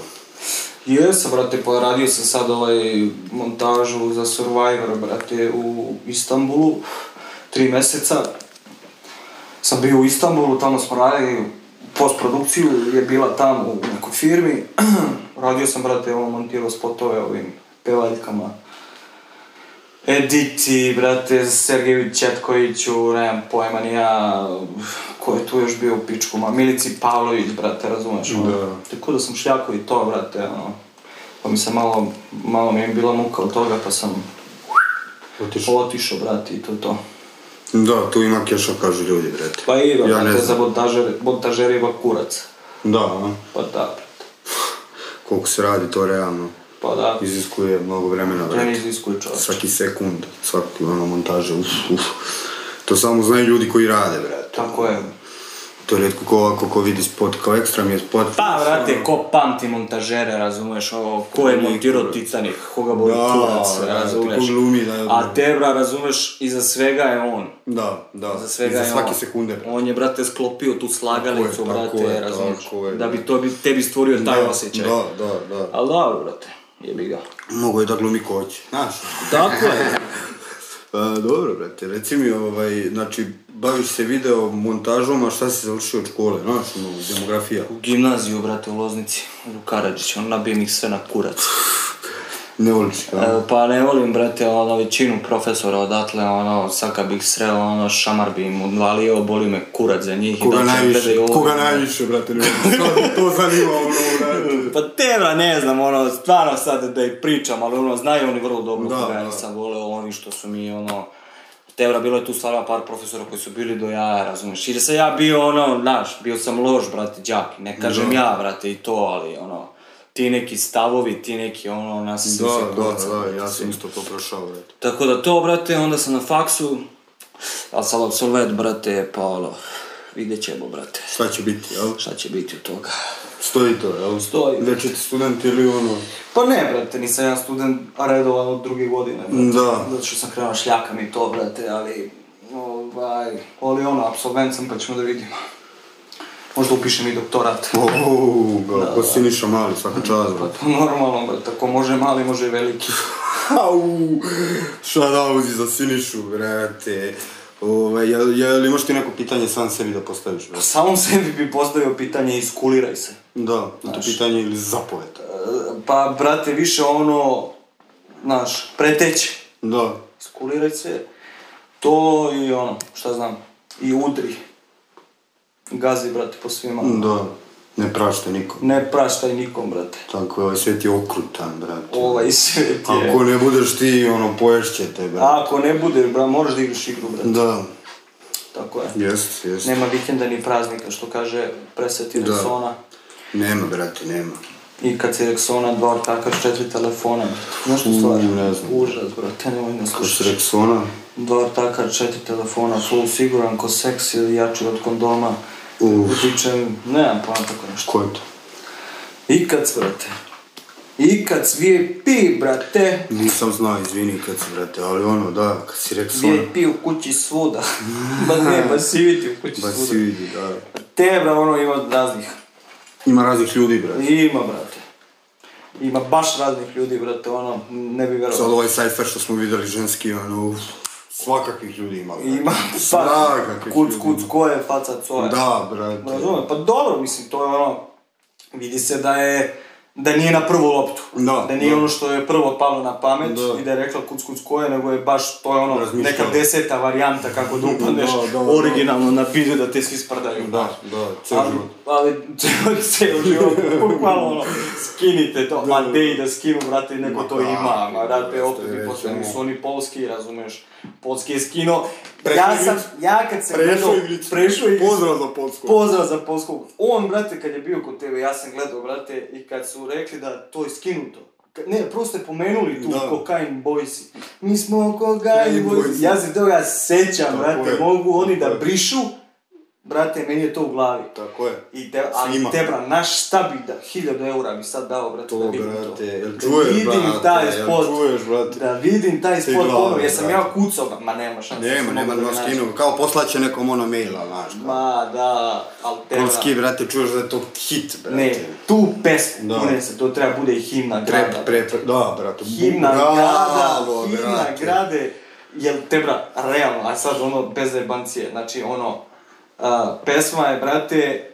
[SPEAKER 2] Jesam, brate, pa radio sam sad ovaj montažu za Survivor, brate, u Istanbulu, tri meseca. Sam bio u Istanbulu, tamo smo radili, postprodukciju je bila tamo u nekoj firmi. radio sam, brate, ono, montirao spotove ovim pevaljkama. Editi, brate, Sergeju Četkoviću, nemam pojma, ni ja, ko je tu još bio u pičku, ma, Milici Pavlović, brate, razumeš, ono,
[SPEAKER 1] Da.
[SPEAKER 2] tako da sam šljakao i to, brate, ono, pa mi se malo, malo mi je bila muka od toga, pa sam
[SPEAKER 1] Otišao.
[SPEAKER 2] otišao, brate, i to je to.
[SPEAKER 1] Da, tu ima keša, kažu ljudi, brate.
[SPEAKER 2] Pa i,
[SPEAKER 1] Ja ne
[SPEAKER 2] brate,
[SPEAKER 1] znam.
[SPEAKER 2] za montažer, montažerima kurac,
[SPEAKER 1] Da, a?
[SPEAKER 2] pa da, brate,
[SPEAKER 1] koliko se radi, to realno
[SPEAKER 2] pa da,
[SPEAKER 1] iziskuje mnogo vremena,
[SPEAKER 2] to ne
[SPEAKER 1] brate.
[SPEAKER 2] iziskuje čovječ.
[SPEAKER 1] Svaki sekund, svaki ono montaže, uf, uf. To samo znaju ljudi koji rade, brate.
[SPEAKER 2] Tako je.
[SPEAKER 1] To je redko ko ovako ko vidi spot, kao ekstra mi je spot.
[SPEAKER 2] Pa, vrate, ko pamti montažere, razumeš, ovo, ko je montirao Titanic, koga boli
[SPEAKER 1] Da,
[SPEAKER 2] kurac,
[SPEAKER 1] brate,
[SPEAKER 2] razumeš.
[SPEAKER 1] ko glumi, da je
[SPEAKER 2] A te, bra, razumeš, iza svega je on.
[SPEAKER 1] Da, da.
[SPEAKER 2] Za svega
[SPEAKER 1] I
[SPEAKER 2] je
[SPEAKER 1] za svake
[SPEAKER 2] on.
[SPEAKER 1] sekunde, brate.
[SPEAKER 2] On je, brate, sklopio tu slagalicu,
[SPEAKER 1] Tako je, tako
[SPEAKER 2] brate,
[SPEAKER 1] je,
[SPEAKER 2] razumeš.
[SPEAKER 1] tako je,
[SPEAKER 2] da
[SPEAKER 1] da.
[SPEAKER 2] bi to bi, tebi stvorio taj osjećaj.
[SPEAKER 1] Da, da, da.
[SPEAKER 2] Ali dobro, brate, jebi ga.
[SPEAKER 1] Mogu je da glumi ko hoće, znaš.
[SPEAKER 2] Tako je.
[SPEAKER 1] Pa, dobro, brate, reci mi, ovaj, znači, baviš se video montažom, a šta si završio od škole, znaš, ono, demografija.
[SPEAKER 2] U gimnaziju, brate, u Loznici, u Karadžiću, on nabijem ih sve na kurac.
[SPEAKER 1] Ne voliš ga.
[SPEAKER 2] E, Pa ne volim, brate, ono, većinu profesora odatle, ono, sad kad bih sreo, ono, šamar bi im odvalio, boli me kurac za njih. i
[SPEAKER 1] Koga
[SPEAKER 2] da će
[SPEAKER 1] najviše,
[SPEAKER 2] gledaju ovo.
[SPEAKER 1] koga najviše, brate, ne voliš. To- to zanima, ono, brate.
[SPEAKER 2] Pa te, bra, ne znam, ono, stvarno sad da ih pričam, ali ono, znaju oni vrlo dobro
[SPEAKER 1] Da,
[SPEAKER 2] koga ja
[SPEAKER 1] da.
[SPEAKER 2] nisam voleo, oni što su mi, ono, te, bra, bilo je tu stvarno par profesora koji su bili do jaja, razumiješ, jer sam ja bio, ono, znaš, bio sam loš, brate, đak, ne kažem
[SPEAKER 1] Da.
[SPEAKER 2] ja, brate, i to, ali, ono, ti neki stavovi, ti neki, ono, nas
[SPEAKER 1] Da,
[SPEAKER 2] sve kurca,
[SPEAKER 1] da, da,
[SPEAKER 2] brate,
[SPEAKER 1] ja sam
[SPEAKER 2] svi.
[SPEAKER 1] isto to prošao, brate.
[SPEAKER 2] Tako da to, brate, onda sam na faksu, ali sam absolvent, brate, pa ono, vidjet ćemo, brate,
[SPEAKER 1] Šta će biti, jel?
[SPEAKER 2] šta će biti od toga.
[SPEAKER 1] Stoji to, jel?
[SPEAKER 2] Stoji.
[SPEAKER 1] Večiti student ili ono...
[SPEAKER 2] Pa ne, brate, nisam ja student redovan od druge godine, brate.
[SPEAKER 1] Da.
[SPEAKER 2] Zato što sam krenuo šljakam i to, brate, ali, ovaj, ali ono, absolvent sam, pa ćemo da vidimo. Možda upišem i doktorat.
[SPEAKER 1] Ouu, ga, ko si niša mali, svaka čast,
[SPEAKER 2] Pa
[SPEAKER 1] brate.
[SPEAKER 2] to normalno, brate, ako može mali, može i veliki.
[SPEAKER 1] Au, shoutouti za Sinišu, brate. Ovaj, jel, jel imaš ti neko pitanje sam sebi da postaviš, brate?
[SPEAKER 2] Samom sebi bi postavio pitanje, iskuliraj se.
[SPEAKER 1] Da, to pitanje ili zapoveta.
[SPEAKER 2] E, Pa, brate, više ono, znaš, preteći.
[SPEAKER 1] Da.
[SPEAKER 2] skuliraj se, to i ono, šta znam, i udri. Gazi, brate, po svima.
[SPEAKER 1] Da. Ne prašte nikom.
[SPEAKER 2] Ne praštaj nikom, brate.
[SPEAKER 1] Tako je, ovaj svijet je okrutan, brate.
[SPEAKER 2] Ovaj svijet je.
[SPEAKER 1] Ako ne budeš ti, ono, poješće te, brate.
[SPEAKER 2] A ako ne budeš, bra, moraš da igraš igru, brate.
[SPEAKER 1] Da.
[SPEAKER 2] Tako je.
[SPEAKER 1] Jest, jest.
[SPEAKER 2] Nema vikenda ni praznika, što kaže preseti
[SPEAKER 1] Da.
[SPEAKER 2] Rexona.
[SPEAKER 1] Nema, brate, nema.
[SPEAKER 2] I kad si Rexona, dva ortaka s četiri telefona, brate. Znaš tu stvar?
[SPEAKER 1] U, Mm, ne znam.
[SPEAKER 2] Užas, brate, nemoj da
[SPEAKER 1] Ko se
[SPEAKER 2] slušaš.
[SPEAKER 1] Rexona?
[SPEAKER 2] Dva ortaka, četiri telefona, full siguran, ko seks ili jači od kondoma.
[SPEAKER 1] Uf.
[SPEAKER 2] Utičem, nemam pojma tako nešto.
[SPEAKER 1] Ko je to?
[SPEAKER 2] Ikad, brate. Ikad VIP, brate.
[SPEAKER 1] Nisam znao, izvini kad si, brate, ali ono, da, kad si Rexona,
[SPEAKER 2] VIP u kući svuda. ba ne, basiviti u kući
[SPEAKER 1] ba pa si
[SPEAKER 2] svuda.
[SPEAKER 1] vidi, da.
[SPEAKER 2] Te, bra, ono, ima raznih.
[SPEAKER 1] Ima raznih ljudi, brate.
[SPEAKER 2] Ima, brate. Ima baš raznih ljudi, brate, ono, ne bi
[SPEAKER 1] Sad
[SPEAKER 2] verovao.
[SPEAKER 1] ovaj sajfer što smo videli ženski, ono, uf, svakakvih ljudi ima, brate.
[SPEAKER 2] Ima, pa,
[SPEAKER 1] Svakakvih
[SPEAKER 2] kuc,
[SPEAKER 1] ljudi
[SPEAKER 2] kuc,
[SPEAKER 1] ima.
[SPEAKER 2] ko je, faca, co je.
[SPEAKER 1] Da, brate.
[SPEAKER 2] Razumem, pa dobro, mislim, to je ono, vidi se da je, da nije na prvu loptu.
[SPEAKER 1] Da,
[SPEAKER 2] da nije
[SPEAKER 1] da.
[SPEAKER 2] ono što je prvo palo na pamet
[SPEAKER 1] Da.
[SPEAKER 2] i da je rekla kuc kuc koje, nego je baš, to je ono,
[SPEAKER 1] Razmišljala.
[SPEAKER 2] neka deseta varijanta kako da upadneš
[SPEAKER 1] Da, da, da.
[SPEAKER 2] originalno na pidu da te svi sprdaju.
[SPEAKER 1] Da, da, ceo
[SPEAKER 2] Ali,
[SPEAKER 1] život.
[SPEAKER 2] ali ceo, ceo život, bukvalno ono, skinite to,
[SPEAKER 1] Da,
[SPEAKER 2] a
[SPEAKER 1] da,
[SPEAKER 2] te i da skinu, brate, neko
[SPEAKER 1] Ma
[SPEAKER 2] to
[SPEAKER 1] kako,
[SPEAKER 2] ima, ma brate,
[SPEAKER 1] brate,
[SPEAKER 2] opet i
[SPEAKER 1] već
[SPEAKER 2] posle,
[SPEAKER 1] ono.
[SPEAKER 2] nisu oni polski, razumeš, polski je skino,
[SPEAKER 1] Prešao
[SPEAKER 2] ja sam,
[SPEAKER 1] igricu.
[SPEAKER 2] ja kad sam gledao, prešao igricu,
[SPEAKER 1] Pozdrav za Polsku.
[SPEAKER 2] Pozdrav za Polskog. On, brate, kad je bio kod tebe, ja sam gledao, brate, i kad su rekli da to je skinuto. Ka- Ne, prosto je pomenuli tu
[SPEAKER 1] Da.
[SPEAKER 2] Cocaine Boysi. mi smo koga i
[SPEAKER 1] Playboy.
[SPEAKER 2] voz- Ja se toga sećam,
[SPEAKER 1] Tako je.
[SPEAKER 2] brate, mogu oni da
[SPEAKER 1] Tako je.
[SPEAKER 2] brišu, brate, meni je to u glavi.
[SPEAKER 1] Tako je.
[SPEAKER 2] I te, ali
[SPEAKER 1] Svima.
[SPEAKER 2] te, bra, naš šta bi da, hiljadu eura bi sad dao, brate, da
[SPEAKER 1] To,
[SPEAKER 2] vidim
[SPEAKER 1] brate, jel
[SPEAKER 2] Da
[SPEAKER 1] čuješ,
[SPEAKER 2] vidim
[SPEAKER 1] brate,
[SPEAKER 2] taj
[SPEAKER 1] jel
[SPEAKER 2] spot.
[SPEAKER 1] čuješ,
[SPEAKER 2] to.
[SPEAKER 1] brate.
[SPEAKER 2] Da vidim taj
[SPEAKER 1] Ti
[SPEAKER 2] spot
[SPEAKER 1] glava,
[SPEAKER 2] ponovo, jer sam ja
[SPEAKER 1] brate.
[SPEAKER 2] kucao, ba, ma nema šanse.
[SPEAKER 1] Nema,
[SPEAKER 2] sam
[SPEAKER 1] nema
[SPEAKER 2] mogao
[SPEAKER 1] da
[SPEAKER 2] da
[SPEAKER 1] vas
[SPEAKER 2] nađem.
[SPEAKER 1] kinu, kao poslaće nekom ono maila, znaš. Ma,
[SPEAKER 2] Ma, da, ali te, bra,
[SPEAKER 1] Polski, brate, čuješ da je to hit, brate.
[SPEAKER 2] ne, tu pesmu,
[SPEAKER 1] Da.
[SPEAKER 2] kune se, to treba bude i himna grada.
[SPEAKER 1] Pre, pre, pre, da, brate.
[SPEAKER 2] Himna
[SPEAKER 1] bravo,
[SPEAKER 2] grada, himna
[SPEAKER 1] brate.
[SPEAKER 2] grade, jel te bra, realno, a sad ono, bez zebancije, znači ono, a, pesma je, brate,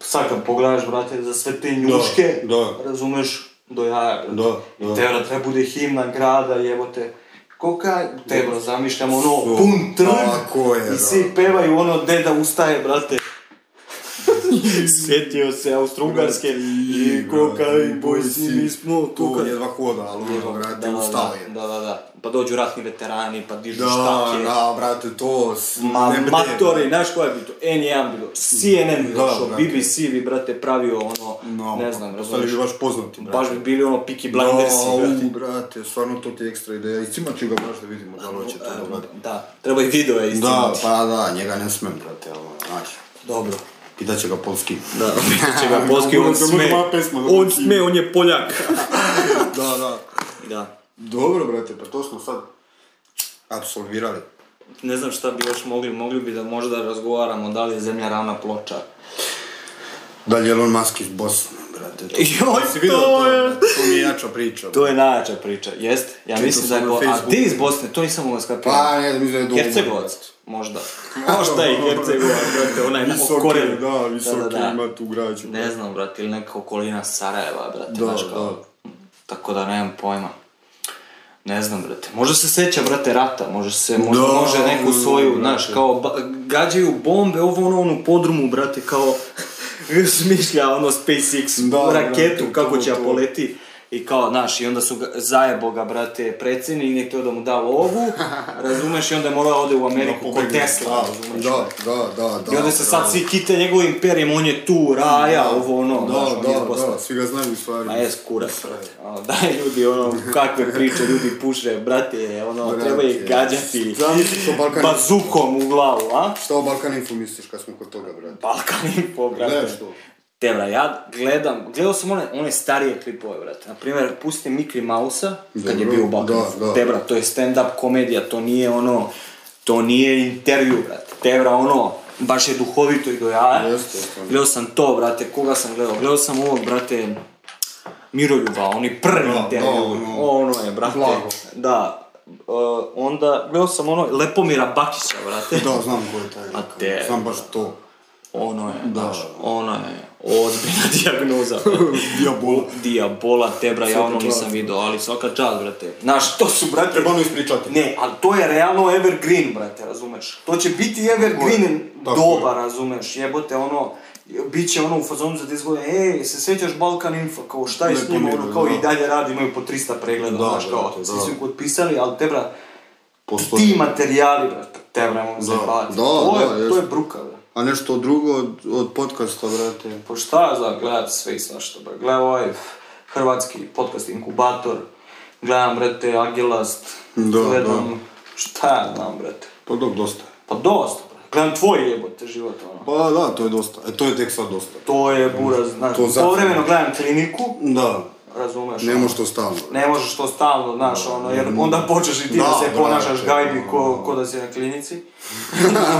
[SPEAKER 2] sad kad pogledaš, brate, za sve te njuške,
[SPEAKER 1] da.
[SPEAKER 2] razumeš, do jaja, brate.
[SPEAKER 1] Da,
[SPEAKER 2] I
[SPEAKER 1] da.
[SPEAKER 2] te bra, treba bude himna grada, jebote, koka, te bra, zamišljam ono,
[SPEAKER 1] Su,
[SPEAKER 2] pun trg,
[SPEAKER 1] tako je,
[SPEAKER 2] i svi
[SPEAKER 1] brate.
[SPEAKER 2] pevaju ono, deda ustaje, brate, Sjetio se Austro-Ugarske i koka i bojsi, mi smo
[SPEAKER 1] Tu
[SPEAKER 2] koka.
[SPEAKER 1] jedva hoda, ali ono, brate, ustao je.
[SPEAKER 2] Da, da, da. Pa dođu ratni veterani, pa dižu
[SPEAKER 1] Da,
[SPEAKER 2] štake.
[SPEAKER 1] da, brate, to... s-
[SPEAKER 2] Ma,
[SPEAKER 1] ne bde,
[SPEAKER 2] matori, znaš koja je bi to? N1 bi došao, CNN bi
[SPEAKER 1] Da,
[SPEAKER 2] došao,
[SPEAKER 1] brate.
[SPEAKER 2] BBC bi, brate, pravio ono,
[SPEAKER 1] No,
[SPEAKER 2] ne znam,
[SPEAKER 1] postali
[SPEAKER 2] razumiješ?
[SPEAKER 1] bi baš poznati, brate.
[SPEAKER 2] Baš bi bili ono Peaky Blindersi,
[SPEAKER 1] Au,
[SPEAKER 2] brate.
[SPEAKER 1] brate, stvarno to ti je ekstra ideja. Iscimat ću ga baš da vidimo da li hoće to da uradi.
[SPEAKER 2] Da, treba i video je
[SPEAKER 1] Da, pa da, njega ne smem, brate,
[SPEAKER 2] ono,
[SPEAKER 1] ali, znaš.
[SPEAKER 2] Dobro.
[SPEAKER 1] Pitaće ga polski.
[SPEAKER 2] Da, će ga Polski, on
[SPEAKER 1] Dobro,
[SPEAKER 2] sme,
[SPEAKER 1] moja pesma, dobro,
[SPEAKER 2] on
[SPEAKER 1] ti.
[SPEAKER 2] sme, on je Poljak.
[SPEAKER 1] da, da.
[SPEAKER 2] da.
[SPEAKER 1] Dobro, brate, pa to smo sad absolvirali.
[SPEAKER 2] Ne znam šta bi još mogli, mogli bi da možda razgovaramo da li je zemlja ravna ploča.
[SPEAKER 1] Da li je Elon Musk iz Bosne, brate? To,
[SPEAKER 2] Joj,
[SPEAKER 1] Jesi vidio
[SPEAKER 2] to je-
[SPEAKER 1] brate? To mi je jača priča.
[SPEAKER 2] To je najjača priča, jest? Ja mislim da
[SPEAKER 1] sam
[SPEAKER 2] je...
[SPEAKER 1] na
[SPEAKER 2] Bo... A
[SPEAKER 1] Facebooku.
[SPEAKER 2] ti iz Bosne, to nisam mogla skapirati.
[SPEAKER 1] Pa, ne znam, mislim da je dobro.
[SPEAKER 2] Hercegovac, možda. Možda i Hercegovac, brate, onaj
[SPEAKER 1] Visoki,
[SPEAKER 2] okoreli.
[SPEAKER 1] da, visoki ima tu građu.
[SPEAKER 2] Ne znam, brate, ili neka okolina Sarajeva, brate,
[SPEAKER 1] Da,
[SPEAKER 2] znaš kao.
[SPEAKER 1] da.
[SPEAKER 2] Tako da nemam pojma. Ne znam, brate. Možda se seća, brate, rata, možda se, možda
[SPEAKER 1] Da,
[SPEAKER 2] može neku svoju,
[SPEAKER 1] brate.
[SPEAKER 2] znaš, kao, ba, gađaju bombe, ovo ono, ono, podrumu, brate, kao, smišlja, ono, SpaceX,
[SPEAKER 1] Da,
[SPEAKER 2] raketu,
[SPEAKER 1] brate,
[SPEAKER 2] kako
[SPEAKER 1] to,
[SPEAKER 2] će ja
[SPEAKER 1] to.
[SPEAKER 2] poleti. I kao, znaš, i onda su ga, zajebo ga, brate, predsjednik, nije htio da mu da lovu, razumeš, i onda je morao ode u Ameriku kod Tesla, razumeš.
[SPEAKER 1] Da, ono, da, da, da.
[SPEAKER 2] ono. I onda se sad svi kite njegovim imperijem, on je tu, raja, ovo ono,
[SPEAKER 1] Da,
[SPEAKER 2] znaš, on je iz
[SPEAKER 1] da,
[SPEAKER 2] Bosne.
[SPEAKER 1] da, svi ga znaju u stvari.
[SPEAKER 2] Ma jes kurac, brate. Ono, daj ljudi, ono, kakve priče ljudi puše, brate, ono,
[SPEAKER 1] Brate,
[SPEAKER 2] treba ih gađati
[SPEAKER 1] zamisli što Balkan-
[SPEAKER 2] bazukom u glavu, a?
[SPEAKER 1] Šta o Balkan Info misliš kad smo kod toga, brate?
[SPEAKER 2] Balkan info, brate.
[SPEAKER 1] Gledaš to?
[SPEAKER 2] Te, bra, ja gledam, gledao sam one, one starije klipove, brate. Naprimjer, pusti Mikri Mausa, kad je
[SPEAKER 1] Dobro,
[SPEAKER 2] bio u Balkanu.
[SPEAKER 1] da, da.
[SPEAKER 2] Te, bra, to je stand-up komedija, to nije ono, to nije intervju, brate. Te, bra, ono, baš je duhovito i do jaja.
[SPEAKER 1] Jeste, jeste.
[SPEAKER 2] Gledao sam to, brate, koga sam gledao? Gledao sam ovog, brate, Miroljuba, oni prvi
[SPEAKER 1] Da,
[SPEAKER 2] intervju.
[SPEAKER 1] da, ono,
[SPEAKER 2] ono je, brate.
[SPEAKER 1] blago.
[SPEAKER 2] Da. E, onda, gledao sam ono, Lepomira Bakića, brate.
[SPEAKER 1] Da, znam ko je taj.
[SPEAKER 2] A te-
[SPEAKER 1] Znam baš to.
[SPEAKER 2] Ono je, znaš, ono je ozbiljna dijagnoza.
[SPEAKER 1] Diabola.
[SPEAKER 2] Diabola, tebra, ja
[SPEAKER 1] Svaka
[SPEAKER 2] ono
[SPEAKER 1] čast.
[SPEAKER 2] nisam video, ali svaka čast, brate. Znaš, to su, brate,
[SPEAKER 1] Treba ono ispričati.
[SPEAKER 2] Ne, ali to je realno evergreen, brate, razumeš? To će biti evergreen
[SPEAKER 1] Tako je.
[SPEAKER 2] doba, razumeš? Jebote, ono, bit će ono u fazonu za 10 godina, ej, se sjećaš Balkan Info, kao šta je
[SPEAKER 1] Ne
[SPEAKER 2] s njima, ono,
[SPEAKER 1] pomiruju,
[SPEAKER 2] kao
[SPEAKER 1] da.
[SPEAKER 2] i dalje radi, imaju po 300 pregleda,
[SPEAKER 1] Da,
[SPEAKER 2] znaš, kao,
[SPEAKER 1] brate,
[SPEAKER 2] svi
[SPEAKER 1] da.
[SPEAKER 2] su ih otpisali, ali tebra,
[SPEAKER 1] Postoji.
[SPEAKER 2] ti materijali, brate, tebra, ono, zajebati.
[SPEAKER 1] da,
[SPEAKER 2] to,
[SPEAKER 1] da,
[SPEAKER 2] je, to je
[SPEAKER 1] jest.
[SPEAKER 2] bruka, brate.
[SPEAKER 1] A nešto drugo od, od podcasta, brate.
[SPEAKER 2] Pa šta ja znam, gledam sve i svašta, ba. Gledam ovaj hrvatski podcast Inkubator, gledam, brate, Agilast,
[SPEAKER 1] Da,
[SPEAKER 2] gledam, šta ja znam, brate.
[SPEAKER 1] Pa dok, dosta. je.
[SPEAKER 2] Pa dosta, brate. Gledam tvoj jebote život, ono.
[SPEAKER 1] Pa da, to je dosta. E, to je tek sad dosta.
[SPEAKER 2] To je buraz, znaš,
[SPEAKER 1] To zato.
[SPEAKER 2] povremeno gledam kliniku,
[SPEAKER 1] Da.
[SPEAKER 2] razumeš,
[SPEAKER 1] Ne
[SPEAKER 2] ono.
[SPEAKER 1] možeš to stalno.
[SPEAKER 2] ne možeš to stalno, znaš, ono, jer onda počneš i ti da,
[SPEAKER 1] Da,
[SPEAKER 2] se
[SPEAKER 1] brate,
[SPEAKER 2] ponašaš gajbi
[SPEAKER 1] ono.
[SPEAKER 2] ko, ko da si na klinici.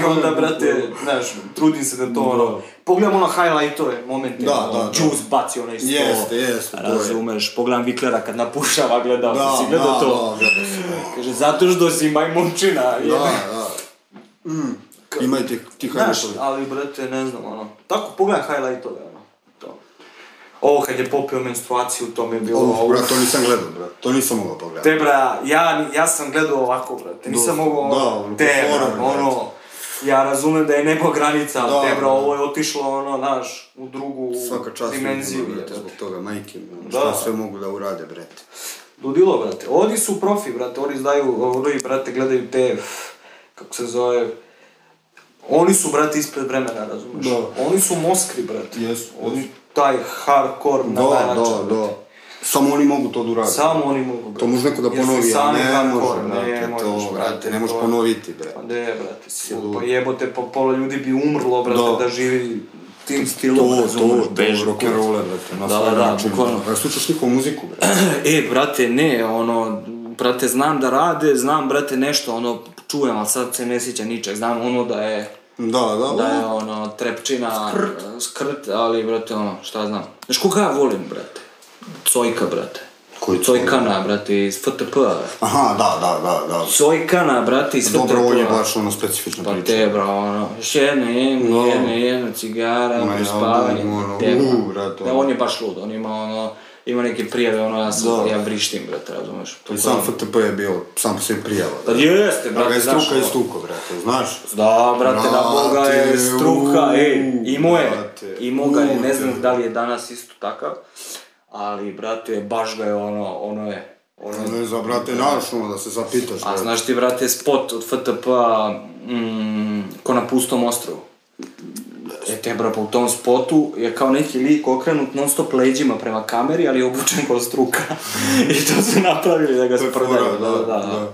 [SPEAKER 2] I onda, brate, znaš, trudim se da to, ono, pogledam ono highlightove momente,
[SPEAKER 1] Da,
[SPEAKER 2] ono,
[SPEAKER 1] da, da.
[SPEAKER 2] Juice baci onaj sto,
[SPEAKER 1] Jeste, jeste, to je.
[SPEAKER 2] razumeš, pogledam Viklera kad napušava, gledao,
[SPEAKER 1] Da,
[SPEAKER 2] si
[SPEAKER 1] da,
[SPEAKER 2] gledao
[SPEAKER 1] da,
[SPEAKER 2] to,
[SPEAKER 1] gledao sam, da.
[SPEAKER 2] kaže, zato što si majmunčina,
[SPEAKER 1] Da,
[SPEAKER 2] jebe.
[SPEAKER 1] da. Mm. Imaj ti, ti
[SPEAKER 2] Znaš,
[SPEAKER 1] hajde to.
[SPEAKER 2] ali brate, ne znam, ono, tako pogledaj highlightove, ono, to. Ovo kad je popio menstruaciju, to mi je bilo...
[SPEAKER 1] Ovo,
[SPEAKER 2] ovo.
[SPEAKER 1] brat, to nisam gledao, brat. To nisam mogao pogledati.
[SPEAKER 2] Te bra, ja, ja sam gledao ovako, brate, nisam
[SPEAKER 1] Da,
[SPEAKER 2] mogao,
[SPEAKER 1] da,
[SPEAKER 2] ono,
[SPEAKER 1] ono,
[SPEAKER 2] te
[SPEAKER 1] ko
[SPEAKER 2] bra,
[SPEAKER 1] forum,
[SPEAKER 2] ono, ja razumem da je nebo granica, ali
[SPEAKER 1] Da,
[SPEAKER 2] te bra,
[SPEAKER 1] da.
[SPEAKER 2] ovo je otišlo, ono, naš, u drugu
[SPEAKER 1] Svaka čast
[SPEAKER 2] dimenziju,
[SPEAKER 1] ljudima, brate,
[SPEAKER 2] jebote.
[SPEAKER 1] zbog toga, majke, mi,
[SPEAKER 2] Da.
[SPEAKER 1] šta sve mogu da urade, brate.
[SPEAKER 2] Ludilo, brate, oni su profi, brate, oni znaju, oni, brate, gledaju te, kako se zove, oni su, brate, ispred vremena, razumeš?
[SPEAKER 1] Da.
[SPEAKER 2] Oni su moskri, brate.
[SPEAKER 1] Jesu,
[SPEAKER 2] Oni,
[SPEAKER 1] jesu.
[SPEAKER 2] taj hardcore na
[SPEAKER 1] Da,
[SPEAKER 2] najjača,
[SPEAKER 1] da,
[SPEAKER 2] brate.
[SPEAKER 1] da. Samo oni mogu to da urade.
[SPEAKER 2] Samo oni mogu, brate.
[SPEAKER 1] To može neko da
[SPEAKER 2] Jer su
[SPEAKER 1] ponovi, a
[SPEAKER 2] sami
[SPEAKER 1] ne
[SPEAKER 2] hardcore,
[SPEAKER 1] može,
[SPEAKER 2] ne
[SPEAKER 1] brate,
[SPEAKER 2] možeš,
[SPEAKER 1] to, brate, ne možeš
[SPEAKER 2] to-
[SPEAKER 1] ponoviti, bre.
[SPEAKER 2] Pa ne, brate, si
[SPEAKER 1] Sigurno.
[SPEAKER 2] pa jebote, pa pola ljudi bi umrlo, brate, da,
[SPEAKER 1] Da.
[SPEAKER 2] živi tim
[SPEAKER 1] To,
[SPEAKER 2] stilom,
[SPEAKER 1] to,
[SPEAKER 2] razumeš,
[SPEAKER 1] to,
[SPEAKER 2] beži,
[SPEAKER 1] rock and roll, brate, na
[SPEAKER 2] Da,
[SPEAKER 1] svoj
[SPEAKER 2] da,
[SPEAKER 1] način.
[SPEAKER 2] bukvalno.
[SPEAKER 1] Da slušaš njihovu muziku, bre.
[SPEAKER 2] E, brate, ne, ono, brate, znam da rade, znam, brate, nešto, ono, čujem, ali sad se ne sjećam ničeg, znam ono da je,
[SPEAKER 1] Da, da,
[SPEAKER 2] da je, ono, trepčina, e, skrt, ali, brate, ono, šta znam. Znaš, koga ja volim, brate? Cojka, brate.
[SPEAKER 1] Koji
[SPEAKER 2] Cojkana, brate, iz FTP-a.
[SPEAKER 1] Aha, da, da, da, da.
[SPEAKER 2] Cojkana, brate, iz FTP-a.
[SPEAKER 1] Dobro, on je baš ono specifična
[SPEAKER 2] Pa
[SPEAKER 1] priča.
[SPEAKER 2] te, bro, ono, još jedna, jedna,
[SPEAKER 1] No.
[SPEAKER 2] jedna, jedna cigara,
[SPEAKER 1] Ma ja,
[SPEAKER 2] prespavanje,
[SPEAKER 1] ono, ono,
[SPEAKER 2] te,
[SPEAKER 1] u,
[SPEAKER 2] bro.
[SPEAKER 1] brate,
[SPEAKER 2] Da,
[SPEAKER 1] ono.
[SPEAKER 2] on je baš lud, on ima, ono, ima neke prijave, ono, ja, sam,
[SPEAKER 1] Da.
[SPEAKER 2] ja vrištim, brate, razumeš? To
[SPEAKER 1] I
[SPEAKER 2] je
[SPEAKER 1] sam
[SPEAKER 2] ono-
[SPEAKER 1] FTP je bio, sam po sebi prijava.
[SPEAKER 2] Pa Jeste,
[SPEAKER 1] Da ga
[SPEAKER 2] brate,
[SPEAKER 1] je
[SPEAKER 2] znaš
[SPEAKER 1] struka i
[SPEAKER 2] ono.
[SPEAKER 1] stuko, brate, znaš?
[SPEAKER 2] Da, brate, da Boga je
[SPEAKER 1] Brate,
[SPEAKER 2] struka,
[SPEAKER 1] u,
[SPEAKER 2] ej, imao je,
[SPEAKER 1] brate,
[SPEAKER 2] imao ga je, ne
[SPEAKER 1] u,
[SPEAKER 2] znam
[SPEAKER 1] te.
[SPEAKER 2] da li je danas isto takav, ali, brate, baš ga je ono, ono je, ono je
[SPEAKER 1] Ne znam, brate, naš ono da se zapitaš,
[SPEAKER 2] A
[SPEAKER 1] brate.
[SPEAKER 2] znaš ti, brate, spot od FTP, mm, ko na pustom ostrovu? E te, bro, pa u tom spotu je kao neki lik okrenut non stop leđima prema kameri, ali je obučen kao struka. I to su napravili da ga
[SPEAKER 1] To je
[SPEAKER 2] sprdaju.
[SPEAKER 1] fora, da, da.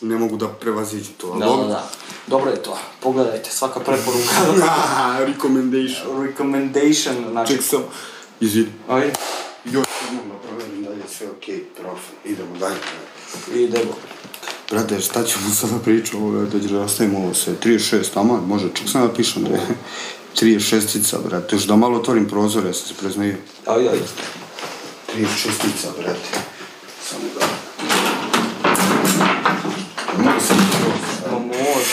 [SPEAKER 1] Ne mogu da prevaziđu to, ali
[SPEAKER 2] Da, da,
[SPEAKER 1] dobro.
[SPEAKER 2] da. Dobro je to. Pogledajte, svaka preporuka.
[SPEAKER 1] Ah, recommendation.
[SPEAKER 2] Recommendation, znači...
[SPEAKER 1] Ček sam, izvini.
[SPEAKER 2] Aj,
[SPEAKER 1] Još jednom da proverim da li je sve okej, profi. Idemo dalje. brate.
[SPEAKER 2] idemo.
[SPEAKER 1] Brate, šta ćemo sada pričati ovo, brate, da ostavimo ovo sve. 36, aman, može, čak sam da pišem, bre. 36-ica, brate, još da malo otvorim prozore, ja sam se preznaju.
[SPEAKER 2] Ajde, ajde.
[SPEAKER 1] 36-ica, brate. Samo da... Mogu sam prozor.
[SPEAKER 2] Pa može.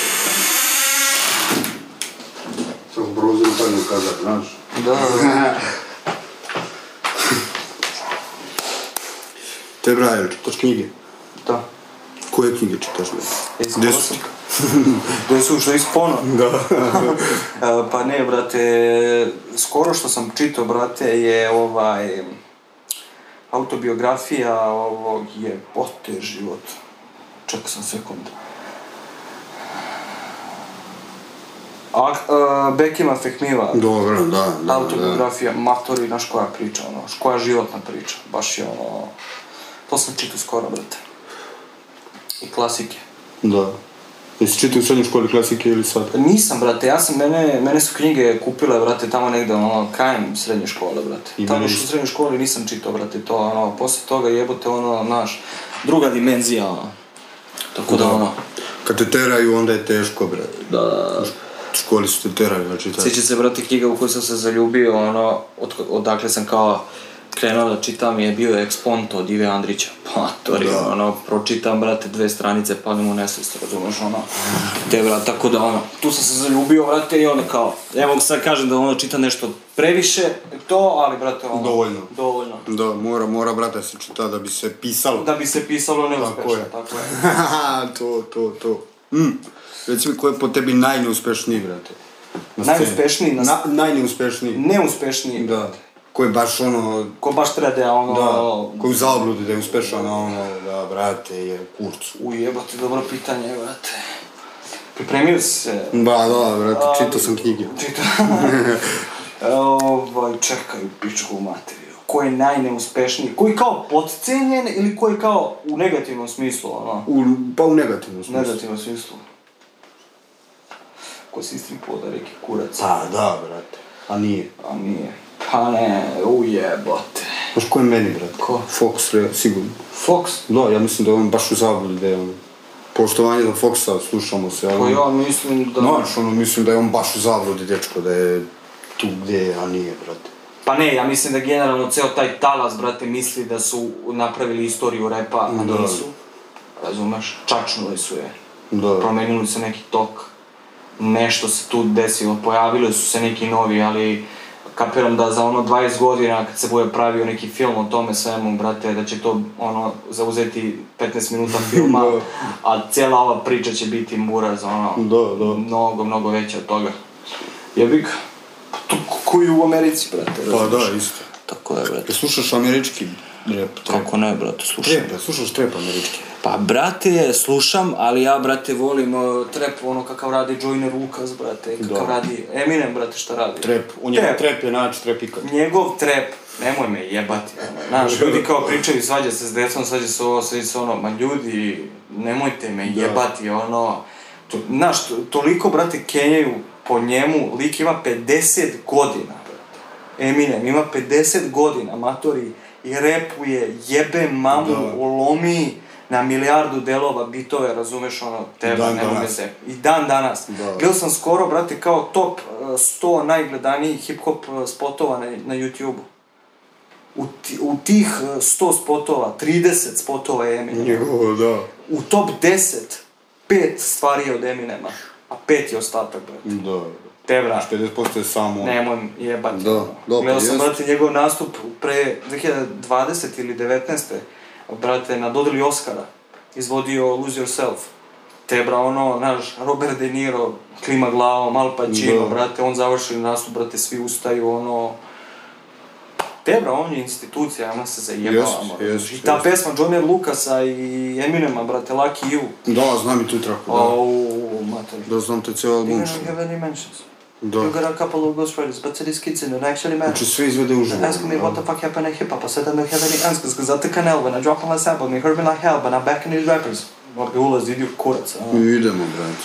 [SPEAKER 1] Samo prozor u tajnu kazak, znaš?
[SPEAKER 2] Da, da.
[SPEAKER 1] Te, brate, jel čitaš knjige?
[SPEAKER 2] da.
[SPEAKER 1] Koje knjige čitaš, bre?
[SPEAKER 2] Gde su? Gde su, što je ispono?
[SPEAKER 1] Da.
[SPEAKER 2] E, pa ne, brate, skoro što sam čitao, brate, je ovaj autobiografija ovog je bote život. Čak sam sekund. Ak, e, Bekima Fehmiva.
[SPEAKER 1] Dobro, da, da, da.
[SPEAKER 2] autobiografija, matori, znaš koja priča, ono, znaš koja životna priča, baš je ono, to sam čitao skoro, brate. I klasike.
[SPEAKER 1] Da. Jesi čitao u srednjoj školi klasike ili sad?
[SPEAKER 2] Pa Nisam, brate, ja sam, mene, mene su knjige kupile, brate, tamo negde, ono, krajem srednje škole, brate.
[SPEAKER 1] I
[SPEAKER 2] tamo
[SPEAKER 1] mene
[SPEAKER 2] još u
[SPEAKER 1] isto.
[SPEAKER 2] srednjoj školi nisam čitao, brate, to, ono, posle toga jebote, ono, naš, druga dimenzija, ono. Tako da, ono,
[SPEAKER 1] Kad te teraju, onda je teško, bre.
[SPEAKER 2] da, da, da.
[SPEAKER 1] U školi su te terali, znači tako.
[SPEAKER 2] Sjećam se, brate, knjiga u koju sam se zaljubio, ono, od, odakle sam kao krenuo da čitam je bio Exponto od Ive Andrića. Pa, to je,
[SPEAKER 1] Da.
[SPEAKER 2] ono, pročitam, brate, dve stranice, padnem u nesvest, razumeš, ono, te, brate, tako da, ono, tu sam se zaljubio, brate, i onda kao, ne mogu sad kažem da, ono, čitam nešto previše, to, ali, brate, ono,
[SPEAKER 1] Dovoljno.
[SPEAKER 2] dovoljno.
[SPEAKER 1] Da, mora, mora, brate, se čita da bi se pisalo.
[SPEAKER 2] Da bi se pisalo neuspešno,
[SPEAKER 1] Tako je.
[SPEAKER 2] tako je.
[SPEAKER 1] to, to, to. Mm. Reci mi, ko je po tebi najneuspešniji, brate? Na sceni.
[SPEAKER 2] Najuspešniji na-
[SPEAKER 1] Na, najneuspešniji.
[SPEAKER 2] Neuspešni,
[SPEAKER 1] Da. Ko je baš ono,
[SPEAKER 2] ko baš treba da, je, ono,
[SPEAKER 1] da, ko je u zabludi da je uspešan, a ono, da, brate, je u kurcu.
[SPEAKER 2] ujebate, dobro pitanje, brate. Pripremio si se,
[SPEAKER 1] Ba, da, brate, čitao sam knjige.
[SPEAKER 2] Čitao. ovaj, čekaj, pičku materiju. Ko je najneuspešniji? Koji kao podcenjen ili koji kao u negativnom smislu, ono?
[SPEAKER 1] U, pa u negativnom
[SPEAKER 2] U
[SPEAKER 1] smislu.
[SPEAKER 2] negativnom smislu. Ko si istripo da reki kurac.
[SPEAKER 1] Pa, da, brate. A nije.
[SPEAKER 2] A nije. Pa ne, ujebote.
[SPEAKER 1] Znaš ko je meni, brate?
[SPEAKER 2] Ko?
[SPEAKER 1] Fox, re, sigurno.
[SPEAKER 2] Fox?
[SPEAKER 1] Da, ja mislim da je on baš u zabludi da je on... Poštovanje do Foxa, slušamo se, ali...
[SPEAKER 2] Pa ja mislim da...
[SPEAKER 1] Znaš, ono, mislim da je on baš u zabludi, dečko, da je tu gdje je, a nije, brate.
[SPEAKER 2] Pa ne, ja mislim da generalno ceo taj talas, brate, misli da su napravili istoriju repa, a
[SPEAKER 1] Da.
[SPEAKER 2] nisu. Razumeš? Čačnuli su je.
[SPEAKER 1] Da.
[SPEAKER 2] promenili se neki tok, nešto se tu desilo, pojavili su se neki novi, ali kapiram da za ono 20 godina kad se bude pravio neki film o tome svemu, brate, da će to ono zauzeti 15 minuta filma,
[SPEAKER 1] Da.
[SPEAKER 2] a cijela ova priča će biti mura za ono
[SPEAKER 1] Da, da.
[SPEAKER 2] mnogo, mnogo veća od toga. Jebi ga. To koji u Americi, brate.
[SPEAKER 1] Pa
[SPEAKER 2] razumiješ?
[SPEAKER 1] da, isto.
[SPEAKER 2] Tako da, brate.
[SPEAKER 1] Jel slušaš američki Rap, trap.
[SPEAKER 2] Kako ne, brate, slušam.
[SPEAKER 1] Trap, da, slušaš trap američki.
[SPEAKER 2] Pa, brate, slušam, ali ja, brate, volim uh, trap, ono kakav radi Joyner Lucas, brate,
[SPEAKER 1] Da.
[SPEAKER 2] kakav radi Eminem, brate, šta radi.
[SPEAKER 1] Trap, u njemu trap je najjači trap ikad.
[SPEAKER 2] Njegov trap, nemoj me jebati. ono. Znaš, ljudi kao pričaju, svađa se s decom, svađa se ovo, svađa se ono, ma ljudi, nemojte me jebati, ono. To, znaš, to- toliko, brate, kenjaju po njemu, lik ima 50 godina, brate. Eminem ima 50 godina, matori, i repuje, jebe mamu,
[SPEAKER 1] Da.
[SPEAKER 2] olomi na milijardu delova bitove, razumeš, ono, teba,
[SPEAKER 1] Dan
[SPEAKER 2] nemoj me
[SPEAKER 1] danas.
[SPEAKER 2] se. I dan danas.
[SPEAKER 1] Da.
[SPEAKER 2] Gledao sam skoro, brate, kao top eh, 100 najgledanijih hip-hop eh, spotova na, na YouTube-u. U, ti- u tih eh, 100 spotova, 30 spotova je Eminem.
[SPEAKER 1] Njegovo, da.
[SPEAKER 2] U top 10, pet stvari je od Eminema, a pet je ostatak, brate.
[SPEAKER 1] Da.
[SPEAKER 2] Te, brate.
[SPEAKER 1] 50% je samo...
[SPEAKER 2] Nemoj mi jebati.
[SPEAKER 1] Da, da, pa
[SPEAKER 2] Gledao sam,
[SPEAKER 1] jest.
[SPEAKER 2] brate, njegov nastup pre 2020 ili 19. Brate, na dodeli Oscara. Izvodio Lose Yourself. Tebra, ono, naš, Robert De Niro, klima glavom, Al Pacino,
[SPEAKER 1] Da.
[SPEAKER 2] brate, on završi nastup, brate, svi ustaju, ono... Tebra, on je institucija, ona se zajebala,
[SPEAKER 1] Jest,
[SPEAKER 2] moram.
[SPEAKER 1] jest,
[SPEAKER 2] I ta
[SPEAKER 1] jest.
[SPEAKER 2] pesma Johnny Lucasa i Eminema, brate, Lucky You.
[SPEAKER 1] Da, znam i tu traku, da.
[SPEAKER 2] Au, mater.
[SPEAKER 1] Da, znam te ceo
[SPEAKER 2] You
[SPEAKER 1] album.
[SPEAKER 2] don't have any mentions.
[SPEAKER 1] Da.
[SPEAKER 2] You got a couple of ghost riders, but these kids don't actually matter.
[SPEAKER 1] Znači sve izvede uživo.
[SPEAKER 2] Ask me what the fuck happened to hip hop. I said I don't have any answers because I took an L when I dropped my sample. Me hurt me like hell, but I'm back in these rappers. Mogu ulaz, idi u kurac. a.
[SPEAKER 1] Mi idemo, brate.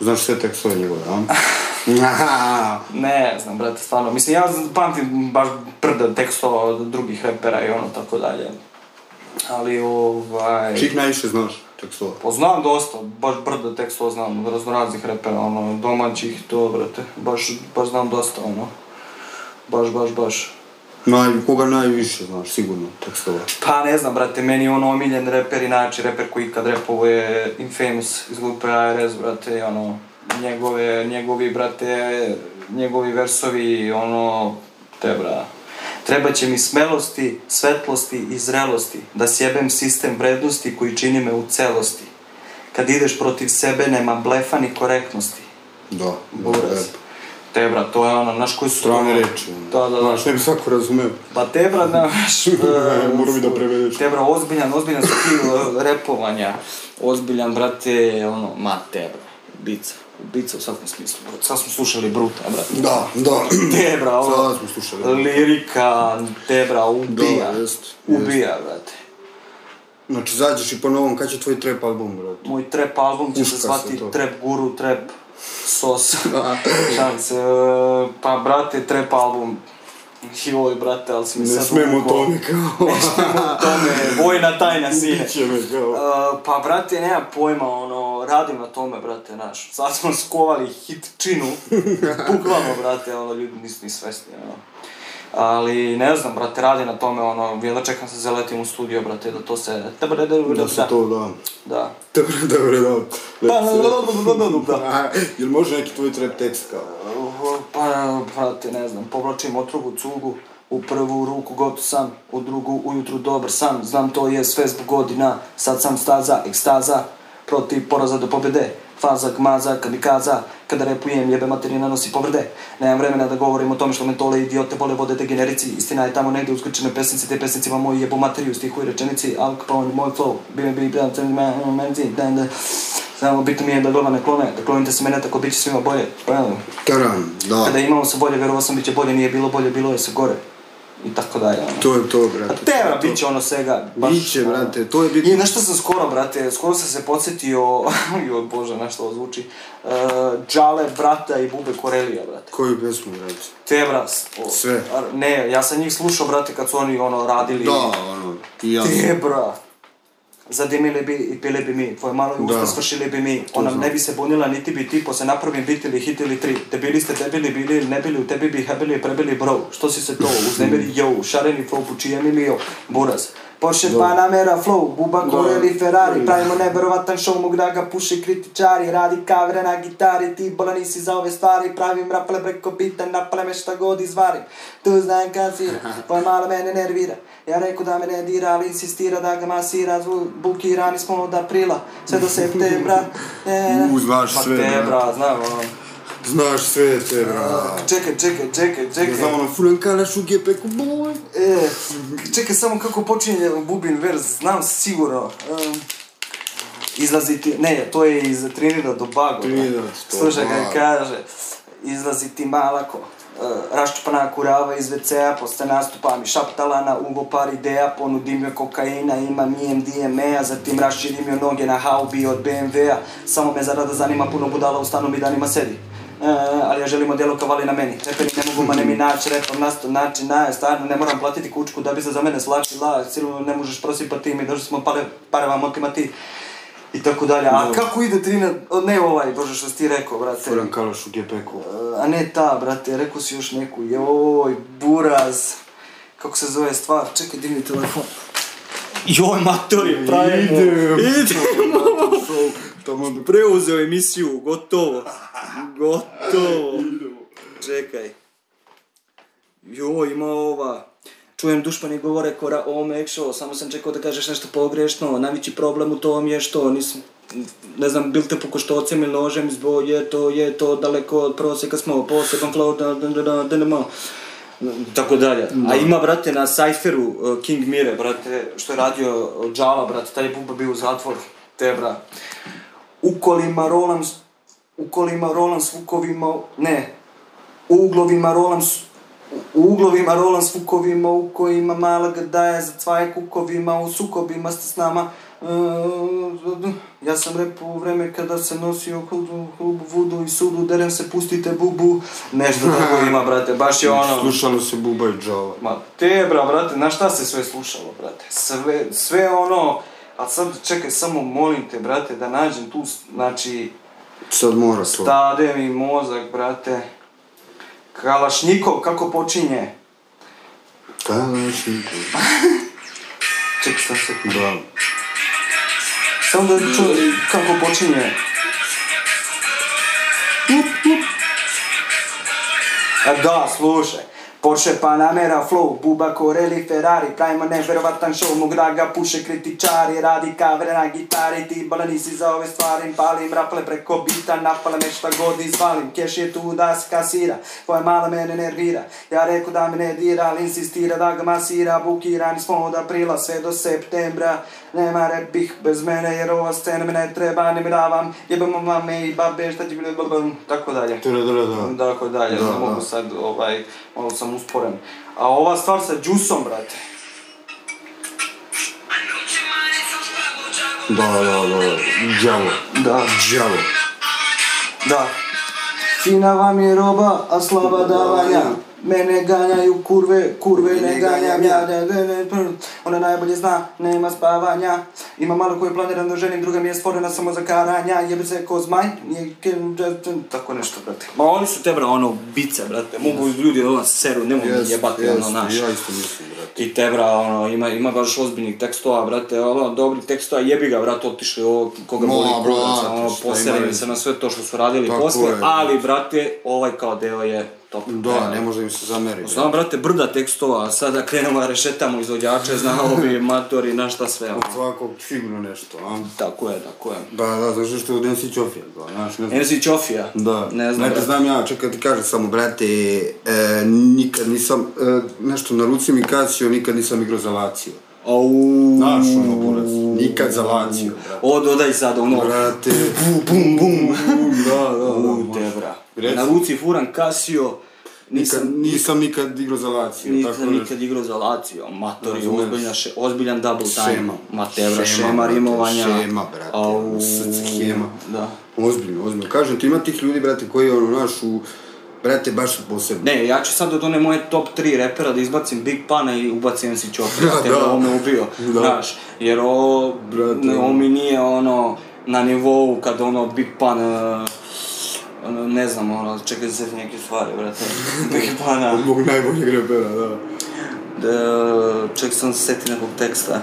[SPEAKER 1] Znaš sve tekstove njegove, a? Aha.
[SPEAKER 2] Ne znam, brate, stvarno. Mislim, ja z- pamtim baš prda tekstova od drugih repera i ono tako dalje. Ali, ovaj...
[SPEAKER 1] Čih najviše znaš tekstova?
[SPEAKER 2] Poznam dosta, baš brda tekstova znam, od raznoraznih repera, ono, domaćih, to, brate, baš, baš znam dosta, ono, baš, baš, baš.
[SPEAKER 1] Naj, koga najviše znaš, sigurno, tekstova.
[SPEAKER 2] Pa ne znam, brate, meni je ono omiljen reper i najjači reper koji ikad repovo je Infamous iz grupe ARS, brate, i ono, njegove, njegovi, brate, njegovi versovi, ono, te bra. Treba će mi smelosti, svetlosti i zrelosti, da sjebem sistem vrednosti koji čini me u celosti. Kad ideš protiv sebe, nema blefa ni korektnosti.
[SPEAKER 1] Da,
[SPEAKER 2] Buraz. Te bra, to je ono, znaš koji su...
[SPEAKER 1] Strane reči. ono.
[SPEAKER 2] Da, da, da.
[SPEAKER 1] Znaš, ne bi svako razumeo.
[SPEAKER 2] Pa Tebra, znaš... e,
[SPEAKER 1] Morao bi da prevedeš.
[SPEAKER 2] Tebra, ozbiljan, ozbiljan stil e, repovanja. Ozbiljan, brate, ono, ma Tebra. Ubica. Ubica u svakom smislu, brate. Sad smo slušali Bruta, brate.
[SPEAKER 1] Da, da.
[SPEAKER 2] Tebra, ono,
[SPEAKER 1] Sada smo slušali.
[SPEAKER 2] lirika, Tebra, ubija.
[SPEAKER 1] Da, jest, jest.
[SPEAKER 2] ubija, brate.
[SPEAKER 1] Znači, zađeš i po novom, kad će tvoj trap album, brate?
[SPEAKER 2] Moj trap album će
[SPEAKER 1] Puška
[SPEAKER 2] se
[SPEAKER 1] se
[SPEAKER 2] zvati
[SPEAKER 1] to.
[SPEAKER 2] Trap Guru, Trap Sos. Šalim se, e, pa brate, trap album. Joj, brate, ali si mi
[SPEAKER 1] Ne
[SPEAKER 2] sad
[SPEAKER 1] smemo
[SPEAKER 2] uvukao.
[SPEAKER 1] to nikako.
[SPEAKER 2] tome, vojna tajna sine.
[SPEAKER 1] Biće me kao.
[SPEAKER 2] Uh, pa brate, nema pojma, ono, radim na tome, brate, znaš. Sad smo skovali hit činu, bukvalno, brate, ono, ljudi nisu ni svesni, ono. Ali, ne znam, brate, radi na tome, ono, jedva čekam se zaletim u studio, brate, da to se...
[SPEAKER 1] Da se to, da.
[SPEAKER 2] Da.
[SPEAKER 1] Dobro, dobro, da.
[SPEAKER 2] Pa,
[SPEAKER 1] Lepo se-
[SPEAKER 2] da.
[SPEAKER 1] A, Jel može neki tvoj trap tekst kao?
[SPEAKER 2] Pa, brate, ne znam, povlačim otrugu cugu, u prvu ruku gotov sam, u drugu ujutru dobar sam, znam to je sve zbog godina, sad sam staza, ekstaza, protiv poraza do pobjede, faza gmaza, kamikaza, kada repujem jebe materina nosi povrde. Nemam vremena da govorim o tome što me tole idiote vole vode degenerici, istina je tamo negdje uskrčene pesnici, te pesnicima moji jebu materiju, stihu i rečenici, Al Capone, moj flow, bi me bi bran, crni man, ono, menzi, dan, da, samo bitno mi je da glava ne klone, da klonite se mene, tako bit će svima bolje. Pa,
[SPEAKER 1] Taran,
[SPEAKER 2] kada
[SPEAKER 1] da.
[SPEAKER 2] imao se bolje, vjerovao sam bit će bolje, nije bilo bolje, bilo je se gore. I tako dalje, ono.
[SPEAKER 1] To je to,
[SPEAKER 2] A
[SPEAKER 1] brate.
[SPEAKER 2] tebra bit će ono svega. baš,
[SPEAKER 1] Biće,
[SPEAKER 2] ono.
[SPEAKER 1] brate, to je bitno.
[SPEAKER 2] I na što sam skoro, brate, skoro sam se podsjetio, joj bože, na što ovo zvuči, uh, Džale, brata i Bube Korelija, brate.
[SPEAKER 1] Koju pesmu, brate?
[SPEAKER 2] Tebra, s- o-
[SPEAKER 1] Sve.
[SPEAKER 2] ar- ne, ja sam njih slušao, brate, kad su oni, ono, radili.
[SPEAKER 1] Da, ono, i ja.
[SPEAKER 2] Tebra. Zadimili bi i pili bi mi, tvoje malo usta
[SPEAKER 1] Da.
[SPEAKER 2] svršili bi mi, ona ne bi se bunila niti bi ti, se napravim bit ili hit ili tri, debili ste debili bili ili ne bili, u tebi bi hebili prebili bro, što si se to, uznemiri yo, šareni flow, pučijem ili yo, buraz. Porsche Panamera flow, buba koreli Ferrari, pravimo neverovatan show, mog da ga puši kritičari, radi kavre na gitari, ti bola nisi za ove stvari, pravim rapale preko bita, napale me šta god izvarim, tu znam kad si, tvoja mala mene nervira, ja reku da me ne dira, ali insistira da ga masira, zvu, bukirani smo od aprila, sve do septembra, e,
[SPEAKER 1] U, znaš
[SPEAKER 2] Ma
[SPEAKER 1] sve,
[SPEAKER 2] te,
[SPEAKER 1] brate.
[SPEAKER 2] bra, znam, ono.
[SPEAKER 1] Znaš sve te, brate.
[SPEAKER 2] Čekaj, čekaj, čekaj, čekaj.
[SPEAKER 1] Ja znam ono, furan kalaš u gepeku, boj.
[SPEAKER 2] E, čekaj samo kako počinje Bubin verz, znam sigurno. Um, izlazi ti, ne, to je iz Trinidad do Bago.
[SPEAKER 1] Trinidad do
[SPEAKER 2] Slušaj
[SPEAKER 1] Bago.
[SPEAKER 2] kaj kaže, izlazi ti malako. Uh, raščupana kurava iz WC-a, posle nastupa mi šaptala na uvo par ideja, ponudim joj kokaina, imam E IMDMA, zatim raširim joj noge na haubi od BMW-a, samo me zarada zanima puno budala u stanu mi danima sedi. E, ali ja želim odjelo kavali na meni. Reperi ne mogu mene mi naći, repom nasto naći, na, stvarno ne moram platiti kučku da bi se za mene slačila, silu ne možeš prosipati mi, došli smo pare, pare vam otima ti. I tako dalje. A kako ide Trina, o, ne ovaj, bože što si ti rekao, brate.
[SPEAKER 1] Furan kalaš u gepeku.
[SPEAKER 2] A ne ta, brate, rekao si još neku, joj, buraz. Kako se zove stvar, čekaj, divni telefon. Joj, matori, pravimo.
[SPEAKER 1] Idemo.
[SPEAKER 2] Idemo.
[SPEAKER 1] Tamo do...
[SPEAKER 2] Preuzeo emisiju, gotovo. Gotovo. Čekaj. Jo, ima ova. Čujem dušmani govore kora o Mekšo, samo sam čekao da kažeš nešto pogrešno. Najveći problem u tom je što nisam ne znam, bil te po koštocem ili nožem, zbog je to, je to, daleko od prosjeka smo, poseban flow, da, da, da, da, da, nema. Tako dalje. A ima, brate, na Cypheru uh, King Mire, brate, što je radio uh, Jala, brate, taj je buba bio u zatvor, te, bra. U kolima rolam, s- u kolima rolam s vukovima, ne, u uglovima rolam s, u uglovima rolam s vukovima, u kojima mala gadaja za cvaj kukovima, u sukobima ste s nama. E, ja sam repo u vreme kada se nosio hudu, hubu, vudu i sudu, derem se, pustite bubu. Nešto tako ima, brate, baš je ono...
[SPEAKER 1] Slušalo se Buba i Džava.
[SPEAKER 2] Ma te bra, brate, na šta se sve slušalo, brate? Sve, sve ono... A sad, čekaj, samo molim te, brate, da nađem tu, znači,
[SPEAKER 1] Sad mora to.
[SPEAKER 2] stade mi mozak, brate. Kalašnikov, kako počinje?
[SPEAKER 1] Kalaš u gepeku.
[SPEAKER 2] Čekaj, sam se...
[SPEAKER 1] Bravo.
[SPEAKER 2] Samo da čujem kako počinje. E, Da, slušaj. Porsche Panamera Flow, Buba Corelli Ferrari, pravimo nevjerovatan show, mog draga puše kritičari, radi kavere na gitari, ti bala nisi za ove stvari, palim raple preko bita, napale me šta god izvalim, keš je tu da se kasira, tvoja mala mene nervira, ja reku da me ne dira, ali insistira da ga masira, bukirani smo od aprila sve do septembra, nema repih bez mene jer ova scena me ne treba, ne mi davam, jebamo mame i babe, šta će bilo, blablabla, tako dalje.
[SPEAKER 1] Tere, tere, da.
[SPEAKER 2] Tako dalje,
[SPEAKER 1] Da,
[SPEAKER 2] da, mogu
[SPEAKER 1] da.
[SPEAKER 2] sad, ovaj, malo sam usporen. A ova stvar sa džusom, brate.
[SPEAKER 1] Da, da, da. Džavo.
[SPEAKER 2] Da.
[SPEAKER 1] Džavo.
[SPEAKER 2] Da. Fina vam je roba, a slaba davanja. Mene ganjaju kurve, kurve ne ganjam ja, ne, ne, ne, pr. ona najbolje zna, nema spavanja. Ima malo koju planiram da ženim, druga mi je stvorena samo za karanja, jebe se ko zmaj, nije ke- d- d- tako nešto, brate. Ma oni su te, bra, ono, bice, brate, mogu ljudi ono seru, nemoj ono,
[SPEAKER 1] Jest, jest, Ja isto mislim, brate.
[SPEAKER 2] I te bra, ono, ima, ima baš ozbiljnih tekstova, brate, ono, dobrih tekstova, jebi ga, brate, otišli ovo, koga
[SPEAKER 1] Ma,
[SPEAKER 2] boli kurac,
[SPEAKER 1] brate,
[SPEAKER 2] ono,
[SPEAKER 1] šta ima
[SPEAKER 2] poselili
[SPEAKER 1] veze?
[SPEAKER 2] se na sve to što su radili
[SPEAKER 1] Tako
[SPEAKER 2] posle,
[SPEAKER 1] je,
[SPEAKER 2] ali, brate, ovaj kao deo je top.
[SPEAKER 1] Da, ne može im se zameriti.
[SPEAKER 2] Znam, brate, brda tekstova, a sada krenemo da rešetamo izvođače, znao bi matori, na šta sve, ono.
[SPEAKER 1] Svakog sigurno nešto, a?
[SPEAKER 2] Tako je, tako je.
[SPEAKER 1] Da, da, znaš što je u Densi Ćofija, da, znaš, ne znam.
[SPEAKER 2] MC Ćofija.
[SPEAKER 1] Da,
[SPEAKER 2] Ne znam,
[SPEAKER 1] Znate,
[SPEAKER 2] brate.
[SPEAKER 1] znam ja, čekaj ti kažem samo, brate, e, nikad nisam, e, nešto na ruci mi kasio, nikad nisam igrao za Lazio.
[SPEAKER 2] Au.
[SPEAKER 1] Znaš, ono, kurac, nikad za Lazio, brate.
[SPEAKER 2] O, dodaj sad, ono.
[SPEAKER 1] Brate, bum, bum, bum, da, da, da,
[SPEAKER 2] U, te,
[SPEAKER 1] može.
[SPEAKER 2] bra.
[SPEAKER 1] Reci.
[SPEAKER 2] Na ruci furan Casio,
[SPEAKER 1] Nikad,
[SPEAKER 2] nisam
[SPEAKER 1] nisam nikad igrao za Lazio, tako
[SPEAKER 2] Nisam
[SPEAKER 1] nešto.
[SPEAKER 2] nikad igrao za Lazio, mator je
[SPEAKER 1] Razumeš.
[SPEAKER 2] ono, ozbiljan, še, ozbiljan double time.
[SPEAKER 1] Šema.
[SPEAKER 2] Matevra, šema,
[SPEAKER 1] brate,
[SPEAKER 2] rimovanja.
[SPEAKER 1] Šema, brate,
[SPEAKER 2] Au.
[SPEAKER 1] ono, srce, schema.
[SPEAKER 2] Da.
[SPEAKER 1] Ozbiljno, ozbiljno. Kažem ti, ima tih ljudi, brate, koji, ono, znaš, u, brate, baš su posebni.
[SPEAKER 2] Ne, ja ću sad od one moje top 3 repera da izbacim Big Pana i ubacim MC Chopra,
[SPEAKER 1] Da,
[SPEAKER 2] te
[SPEAKER 1] da.
[SPEAKER 2] ovo me ubio,
[SPEAKER 1] Da.
[SPEAKER 2] znaš, jer ovo,
[SPEAKER 1] Brate.
[SPEAKER 2] ne, ovo mi nije ono na nivou kad ono Big Pan, e, ono, ne znam, ono, čekaj za neke stvari, brate, Big Pana,
[SPEAKER 1] Od mog najboljeg repera, da.
[SPEAKER 2] Da, ček sam se seti nekog teksta. ah.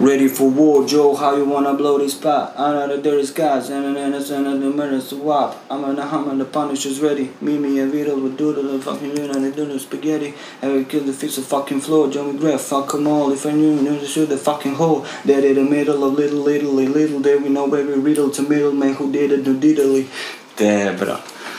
[SPEAKER 2] Ready for war, Joe, how you wanna blow this spot? I'm not a dirty skies, and then it's another minutes to wop. I'm in the hum and the punisher's ready. Mimi and Vito will do the fucking unit, they do the spaghetti. And we kill the fix the fucking floor, Joe McGrath, fuck 'em all. If I knew, knew to shoot the fucking hole. Dead in the middle of little, little, little, there we know baby riddle to middleman who did it, do diddly.
[SPEAKER 3] te, bra.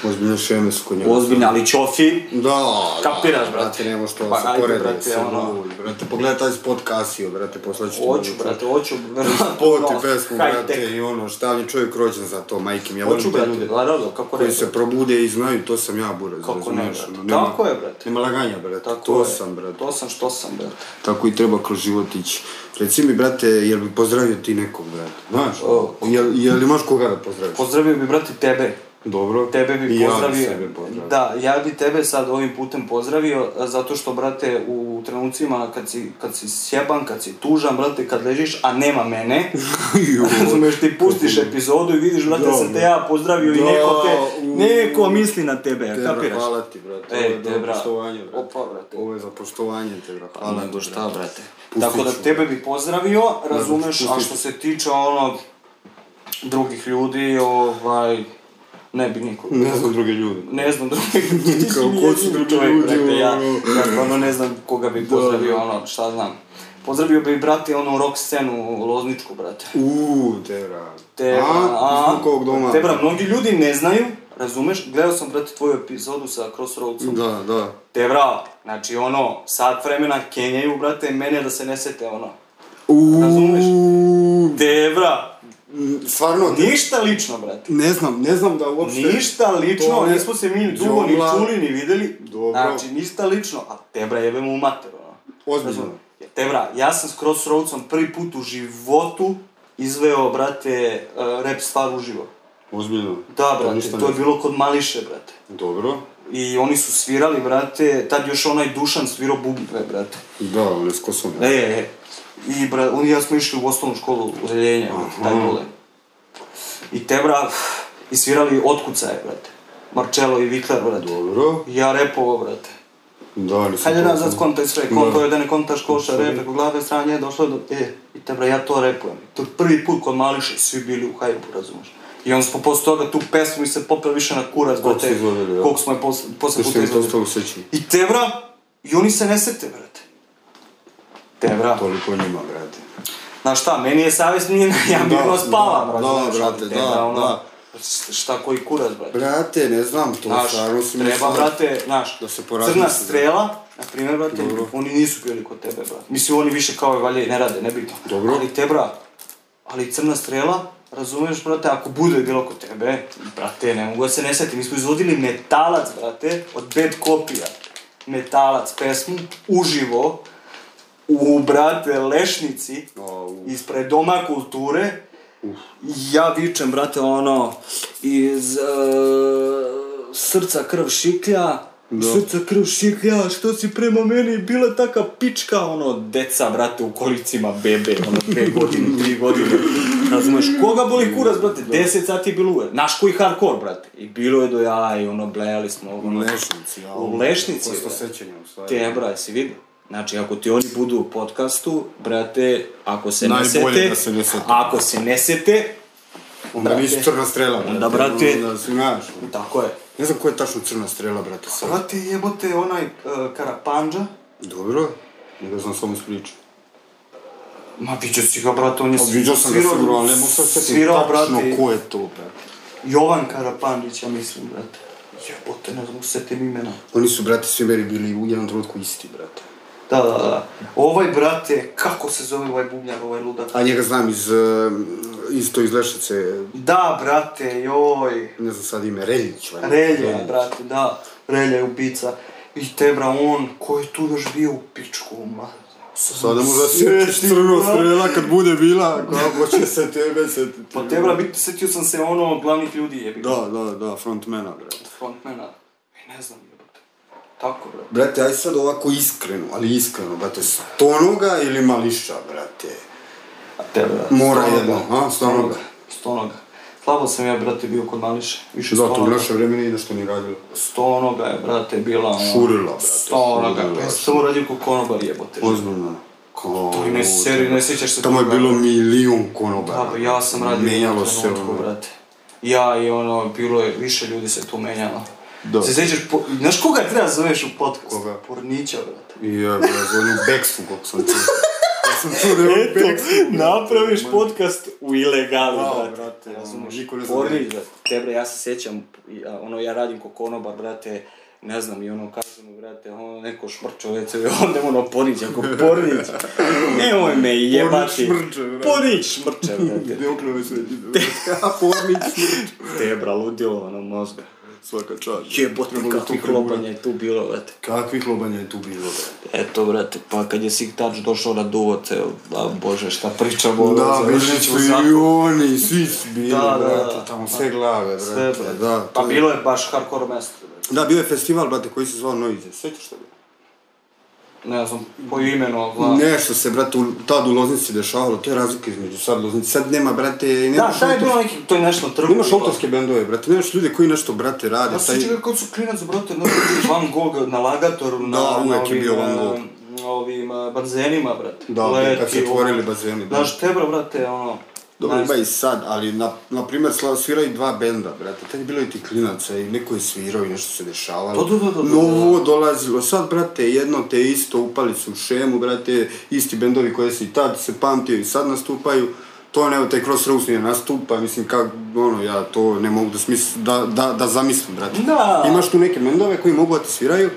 [SPEAKER 1] Ozbiljno šeme su kod njega.
[SPEAKER 3] Ozbiljno, ali čofi,
[SPEAKER 1] Da,
[SPEAKER 3] Kapiraš, brate.
[SPEAKER 1] da, Brate, nema što
[SPEAKER 2] Pa,
[SPEAKER 1] se
[SPEAKER 2] ajde,
[SPEAKER 1] poredi.
[SPEAKER 2] brate,
[SPEAKER 1] sa
[SPEAKER 2] ono.
[SPEAKER 1] mnom, Brate, pogledaj taj spot Casio, brate, poslaću ti...
[SPEAKER 2] Oću, brate, oću,
[SPEAKER 1] Spot
[SPEAKER 2] ono,
[SPEAKER 1] i pesmu,
[SPEAKER 2] high
[SPEAKER 1] brate,
[SPEAKER 2] tech.
[SPEAKER 1] i ono, šta je čovjek rođen za to, majke mi. Ja
[SPEAKER 2] Oću,
[SPEAKER 1] volim te
[SPEAKER 2] brate,
[SPEAKER 1] ljude
[SPEAKER 2] naravno, kako
[SPEAKER 1] koji
[SPEAKER 2] reći.
[SPEAKER 1] se probude i znaju, to sam ja, buraz,
[SPEAKER 2] Kako ne,
[SPEAKER 1] razumiješ, ono,
[SPEAKER 2] brate.
[SPEAKER 1] nema-
[SPEAKER 2] Tako je, brate.
[SPEAKER 1] Nema laganja, brate,
[SPEAKER 2] Tako
[SPEAKER 1] to
[SPEAKER 2] je.
[SPEAKER 1] sam, brate.
[SPEAKER 2] To sam što sam, brate.
[SPEAKER 1] Tako i treba kroz život ići. Reci mi, brate, jel bi pozdravio ti nekog, brate? Znaš,
[SPEAKER 2] O.
[SPEAKER 1] jel, jel imaš koga da pozdraviš?
[SPEAKER 2] Pozdravio bi, brate, tebe.
[SPEAKER 1] Dobro.
[SPEAKER 2] Tebe bi
[SPEAKER 1] I ja
[SPEAKER 2] pozdravio.
[SPEAKER 1] sebe pozdravio.
[SPEAKER 2] Da, ja bi tebe sad ovim putem pozdravio, a, zato što, brate, u trenucima kad si, kad si sjeban, kad si tužan, brate, kad ležiš, a nema mene,
[SPEAKER 1] Joj.
[SPEAKER 2] razumeš, ti pustiš epizodu i vidiš, brate,
[SPEAKER 1] Da,
[SPEAKER 2] da sam te
[SPEAKER 1] bro.
[SPEAKER 2] ja pozdravio i
[SPEAKER 1] Da,
[SPEAKER 2] neko te,
[SPEAKER 1] u. pa,
[SPEAKER 2] neko misli na tebe,
[SPEAKER 1] Tebra,
[SPEAKER 2] kapiraš?
[SPEAKER 1] hvala ti, brate.
[SPEAKER 2] E,
[SPEAKER 1] Ovo je za
[SPEAKER 2] Tebra.
[SPEAKER 1] poštovanje, brate.
[SPEAKER 2] Opa, brate.
[SPEAKER 1] Ovo je za poštovanje, Tebra. Hvala ti,
[SPEAKER 2] Nego šta,
[SPEAKER 1] brate.
[SPEAKER 2] brate.
[SPEAKER 1] Pustit
[SPEAKER 2] Tako da
[SPEAKER 1] ću,
[SPEAKER 2] tebe bi pozdravio, razumeš, a
[SPEAKER 1] pustit
[SPEAKER 2] što se tiče ono drugih ljudi, ovaj, ne bi nikog.
[SPEAKER 1] Ne znam druge ljude.
[SPEAKER 2] Ne znam drugih ljudi, ti si
[SPEAKER 1] Kao, ko
[SPEAKER 2] mi
[SPEAKER 1] su
[SPEAKER 2] jedini
[SPEAKER 1] drugi
[SPEAKER 2] čovjek,
[SPEAKER 1] ljudi,
[SPEAKER 2] brate, ja,
[SPEAKER 1] ono?
[SPEAKER 2] ja ono ne znam koga bi pozdravio, ono, šta znam. Pozdravio bi, brate, onu rock scenu lozničku, brate.
[SPEAKER 1] Uuu, Tebra.
[SPEAKER 2] Tebra,
[SPEAKER 1] A, iz Vukovog doma.
[SPEAKER 2] Tebra, mnogi ljudi ne znaju, razumeš, gledao sam, brate, tvoju epizodu sa Crossroadsom.
[SPEAKER 1] Da, da.
[SPEAKER 2] Tebra, znači ono, sat vremena kenjaju, brate, mene da se ne sete, ono. Razumeš?
[SPEAKER 1] Uuu.
[SPEAKER 2] Debra,
[SPEAKER 1] Stvarno, ti-
[SPEAKER 2] ništa lično, brate.
[SPEAKER 1] ne znam, ne znam da uopšte...
[SPEAKER 2] Ništa lično,
[SPEAKER 1] to je
[SPEAKER 2] nismo se mi dugo ni
[SPEAKER 1] džungla.
[SPEAKER 2] čuli ni videli.
[SPEAKER 1] Dobro.
[SPEAKER 2] Znači, ništa lično, a Tebra jebe mu u mater, ono.
[SPEAKER 1] Ozbiljno.
[SPEAKER 2] Razumem. Ja, Tebra, ja sam s Crossroadsom prvi put u životu izveo, brate, eh, rap stvar uživo.
[SPEAKER 1] Ozbiljno.
[SPEAKER 2] Da,
[SPEAKER 1] ništa
[SPEAKER 2] brate,
[SPEAKER 1] ne
[SPEAKER 2] to je
[SPEAKER 1] znam.
[SPEAKER 2] bilo kod Mališe, brate.
[SPEAKER 1] Dobro.
[SPEAKER 2] I oni su svirali, brate, tad još onaj Dušan svirao bubnjeve, brate.
[SPEAKER 1] Da, on je s kosom.
[SPEAKER 2] E, e. I bra, on i ja smo išli u osnovnu školu u Reljenje, brate, taj dole. I te bra, i svirali otkucaje, brate. Marcello i Vikler, brate.
[SPEAKER 1] Dobro.
[SPEAKER 2] I ja repovo, brate.
[SPEAKER 1] Da, ali sam
[SPEAKER 2] Hajde
[SPEAKER 1] to-
[SPEAKER 2] nazad kontekst sve,
[SPEAKER 1] Da.
[SPEAKER 2] koliko je da ne kontaš koša, rep, preko glave strane, došlo je do... E, i te bra, ja to repujem. To je prvi put kod Mališe, svi bili u hajpu, razumiješ. I onda smo posle toga tu pesmu i se popeo više na kurac,
[SPEAKER 1] Koliko
[SPEAKER 2] brate.
[SPEAKER 1] ste izvodili, ja?
[SPEAKER 2] Koliko smo je posle, posle
[SPEAKER 1] Još
[SPEAKER 2] puta
[SPEAKER 1] mi to
[SPEAKER 2] izvodili.
[SPEAKER 1] ostalo seći.
[SPEAKER 2] I te bra, i oni se ne sete, brate. Te bra.
[SPEAKER 1] Toliko o njima, brate.
[SPEAKER 2] Znaš šta, meni je savjest nije, ja
[SPEAKER 1] Da,
[SPEAKER 2] mirno spavam,
[SPEAKER 1] da,
[SPEAKER 2] razumeš,
[SPEAKER 1] da,
[SPEAKER 2] ali
[SPEAKER 1] brate,
[SPEAKER 2] tebra,
[SPEAKER 1] da,
[SPEAKER 2] ono,
[SPEAKER 1] da.
[SPEAKER 2] Šta koji kurac, brate.
[SPEAKER 1] Brate, ne znam, to
[SPEAKER 2] Znaš,
[SPEAKER 1] stvarno si mi
[SPEAKER 2] treba,
[SPEAKER 1] sad-
[SPEAKER 2] brate, znaš,
[SPEAKER 1] da se porazmisli,
[SPEAKER 2] crna
[SPEAKER 1] da.
[SPEAKER 2] strela, na primjer, brate, oni nisu bili kod tebe, brate. Mislim, oni više kao i valje i ne rade, nebitno.
[SPEAKER 1] Dobro.
[SPEAKER 2] Ali te, brate, ali crna strela, razumeš, brate, ako bude bilo kod tebe, brate, ne mogu da se ne setim, mi smo izvodili metalac, brate, od bad kopija. Metalac, pesmu, uživo, u, brate, Lešnici,
[SPEAKER 1] Au.
[SPEAKER 2] ispred Doma kulture, ja vičem, brate, ono, iz e, srca krv šiklja, srca krv šiklja, što si prema meni bila taka pička, ono, deca, brate, u kolicima bebe, ono, dve godine, tri godine, razumeš, koga boli kurac, brate, deset sati je bilo uvek, naš koji hardcore, brate, i bilo je do jaja i ono, blejali smo,
[SPEAKER 1] U
[SPEAKER 2] ono,
[SPEAKER 1] Lešnici, ja.
[SPEAKER 2] u Lešnici,
[SPEAKER 1] Kosto
[SPEAKER 2] brate.
[SPEAKER 1] sećanja, u stvari.
[SPEAKER 2] Te, bra, jesi vidio? Znači, ako ti oni budu u podcastu, brate, ako se ne
[SPEAKER 1] Najbolje
[SPEAKER 2] sete,
[SPEAKER 1] da se ne sete.
[SPEAKER 2] ako se ne sete,
[SPEAKER 1] Onda
[SPEAKER 2] brate.
[SPEAKER 1] nisi crna strela, brate.
[SPEAKER 2] Onda, brate-
[SPEAKER 1] Onda si, znaš,
[SPEAKER 2] tako je.
[SPEAKER 1] Ne znam ko je tačno crna strela, brate, sad.
[SPEAKER 2] Brate, jebote, onaj uh, Karapanđa.
[SPEAKER 1] Dobro. Nego znam samo spriču.
[SPEAKER 2] Ma, vidio si ga, brate, on je svi-
[SPEAKER 1] Viđao sam ga
[SPEAKER 2] svirao-
[SPEAKER 1] sigurno, ali ne mogu sad setim
[SPEAKER 2] svirao,
[SPEAKER 1] tačno
[SPEAKER 2] brate,
[SPEAKER 1] ko je to, brate.
[SPEAKER 2] Jovan Karapanđić, ja mislim, brate. Jebote, ne znam, setim imena.
[SPEAKER 1] Oni su, brate, svi meni bili u jednom trenutku isti, brate.
[SPEAKER 2] Da, da, da. Ovaj, brate, kako se zove ovaj bubnjar, ovaj ludak?
[SPEAKER 1] A njega znam iz, eh, isto iz Lešice,
[SPEAKER 2] Da, brate, joj.
[SPEAKER 1] ne znam sad ime, Reljić, valjda.
[SPEAKER 2] Relja, brate, da. Relja je ubica. I tebra on, ko je tu još bio u pičku, ma.
[SPEAKER 1] Sada mu zasjetiš
[SPEAKER 2] Sjeti,
[SPEAKER 1] crno
[SPEAKER 2] brate.
[SPEAKER 1] strela kad bude bila, kako će se tebe setiti.
[SPEAKER 2] Pa tebra, biti, setio sam se ono glavnih ljudi jebi. ga,
[SPEAKER 1] Da, da, da, frontmana, brate.
[SPEAKER 2] Frontmana. E, ne znam jebote. Tako, brate.
[SPEAKER 1] Brate, aj sad ovako iskreno, ali iskreno, brate, stonoga ili mališa, brate?
[SPEAKER 2] A tebra?
[SPEAKER 1] Mora jedno, a, stonoga.
[SPEAKER 2] Stonoga. Slabo sam ja, brate, bio kod Mališe. Više
[SPEAKER 1] Zato u
[SPEAKER 2] stonoga.
[SPEAKER 1] naše vreme nije nešto ni radilo.
[SPEAKER 2] Stonoga je, brate, bila... ono,
[SPEAKER 1] Šurila, brate,
[SPEAKER 2] Stonoga.
[SPEAKER 1] šurila.
[SPEAKER 2] Ja sam samo radio kod konobar jebote.
[SPEAKER 1] Ozbiljno. Kao...
[SPEAKER 2] To i ne seri, ne sjećaš se
[SPEAKER 1] Tamo je
[SPEAKER 2] toga.
[SPEAKER 1] bilo milijun konobara.
[SPEAKER 2] Da, pa ja sam radio
[SPEAKER 1] Menjalo
[SPEAKER 2] u
[SPEAKER 1] se
[SPEAKER 2] trenutku,
[SPEAKER 1] ono.
[SPEAKER 2] brate. Ja i ono, bilo je, više ljudi se tu menjalo.
[SPEAKER 1] Da.
[SPEAKER 2] Se sjećaš, po... znaš koga treba zoveš u podcast?
[SPEAKER 1] Koga?
[SPEAKER 2] Pornića, brate.
[SPEAKER 1] I ja, ja zvonju Beksu, kako sam čuo. Ja Eto,
[SPEAKER 3] Направиш подкаст у илегали,
[SPEAKER 1] Браво,
[SPEAKER 3] брат.
[SPEAKER 1] брате,
[SPEAKER 3] Razumeš?
[SPEAKER 1] niko ne zna.
[SPEAKER 3] Porni, brate. Te, bre, ja se sjećam, i, a, ono, ja radim ko konobar, brate, ne znam, i ono, kažem, mu, brate, ono, neko šmrčo vece, i onda ono, pornić, ako pornić, nemoj me jebati.
[SPEAKER 1] šmrče, brate.
[SPEAKER 3] Pornić šmrče, brate.
[SPEAKER 1] Deokleve se A pornić smrt.
[SPEAKER 3] Te, bra, ludilo, ono, mozga.
[SPEAKER 1] Svaka čast.
[SPEAKER 3] Jebote,
[SPEAKER 1] Trebalo je to
[SPEAKER 3] kakvih
[SPEAKER 1] pregurati.
[SPEAKER 3] lopanja je tu bilo, brate.
[SPEAKER 1] Kakvih lobanja je tu bilo, brate.
[SPEAKER 3] Eto, brate, pa kad je Siktač došao na duvote, a bože, šta pričamo, ono,
[SPEAKER 1] Pa Da, bili
[SPEAKER 3] završit ću
[SPEAKER 1] su
[SPEAKER 3] u zatvoru.
[SPEAKER 1] i oni, svi su bili,
[SPEAKER 3] Da, da, da.
[SPEAKER 1] brate, tamo sve glave, brate.
[SPEAKER 3] Sve, brate.
[SPEAKER 1] Da, to
[SPEAKER 2] Pa
[SPEAKER 1] je-
[SPEAKER 2] bilo je baš hardcore mesto. brate.
[SPEAKER 1] Da, bio je festival, brate, koji se zvao Noize. Sećaš se?
[SPEAKER 2] Ne znam, po imenu, ali znam.
[SPEAKER 1] Nešto se, brate, u, tad u Loznici dešavalo, to je razlika između sad Loznici. Sad nema, brate, nemaš
[SPEAKER 2] Da, šta je
[SPEAKER 1] autorske-
[SPEAKER 2] bilo neki, to je nešto trgu.
[SPEAKER 1] Nemaš autorske bendove, brate, nemaš ljude koji nešto, brate, rade.
[SPEAKER 2] Ja se sjećam kako su klinac, brate, ono, Van Gogh na lagatoru, na,
[SPEAKER 1] Da, uvek
[SPEAKER 2] na
[SPEAKER 1] je
[SPEAKER 2] ovim,
[SPEAKER 1] bio Van
[SPEAKER 2] e,
[SPEAKER 1] Gogh.
[SPEAKER 2] na ovim e, bazenima, brate.
[SPEAKER 1] Da, bre, kad se
[SPEAKER 2] Leti,
[SPEAKER 1] otvorili
[SPEAKER 2] ono.
[SPEAKER 1] bazeni, da.
[SPEAKER 2] Znaš, tebra, brate, ono...
[SPEAKER 1] Dobro,
[SPEAKER 2] najs-
[SPEAKER 1] ima i sad, ali na, na primjer sla- sviraju dva benda, brate, tad je bilo i ti klinaca i neko je svirao i nešto se dešavalo.
[SPEAKER 2] Pa Da, da, da, da, da.
[SPEAKER 1] Novo dolazilo, sad, brate, jedno te isto, upali su u šemu, brate, isti bendovi koje su i tad se pamtio i sad nastupaju. To ne, taj Crossroads ne nastupa, mislim, kak, ono, ja to ne mogu da, smis, da, da, da zamislim, brate.
[SPEAKER 2] Da.
[SPEAKER 1] Imaš tu neke bendove koji mogu da ti sviraju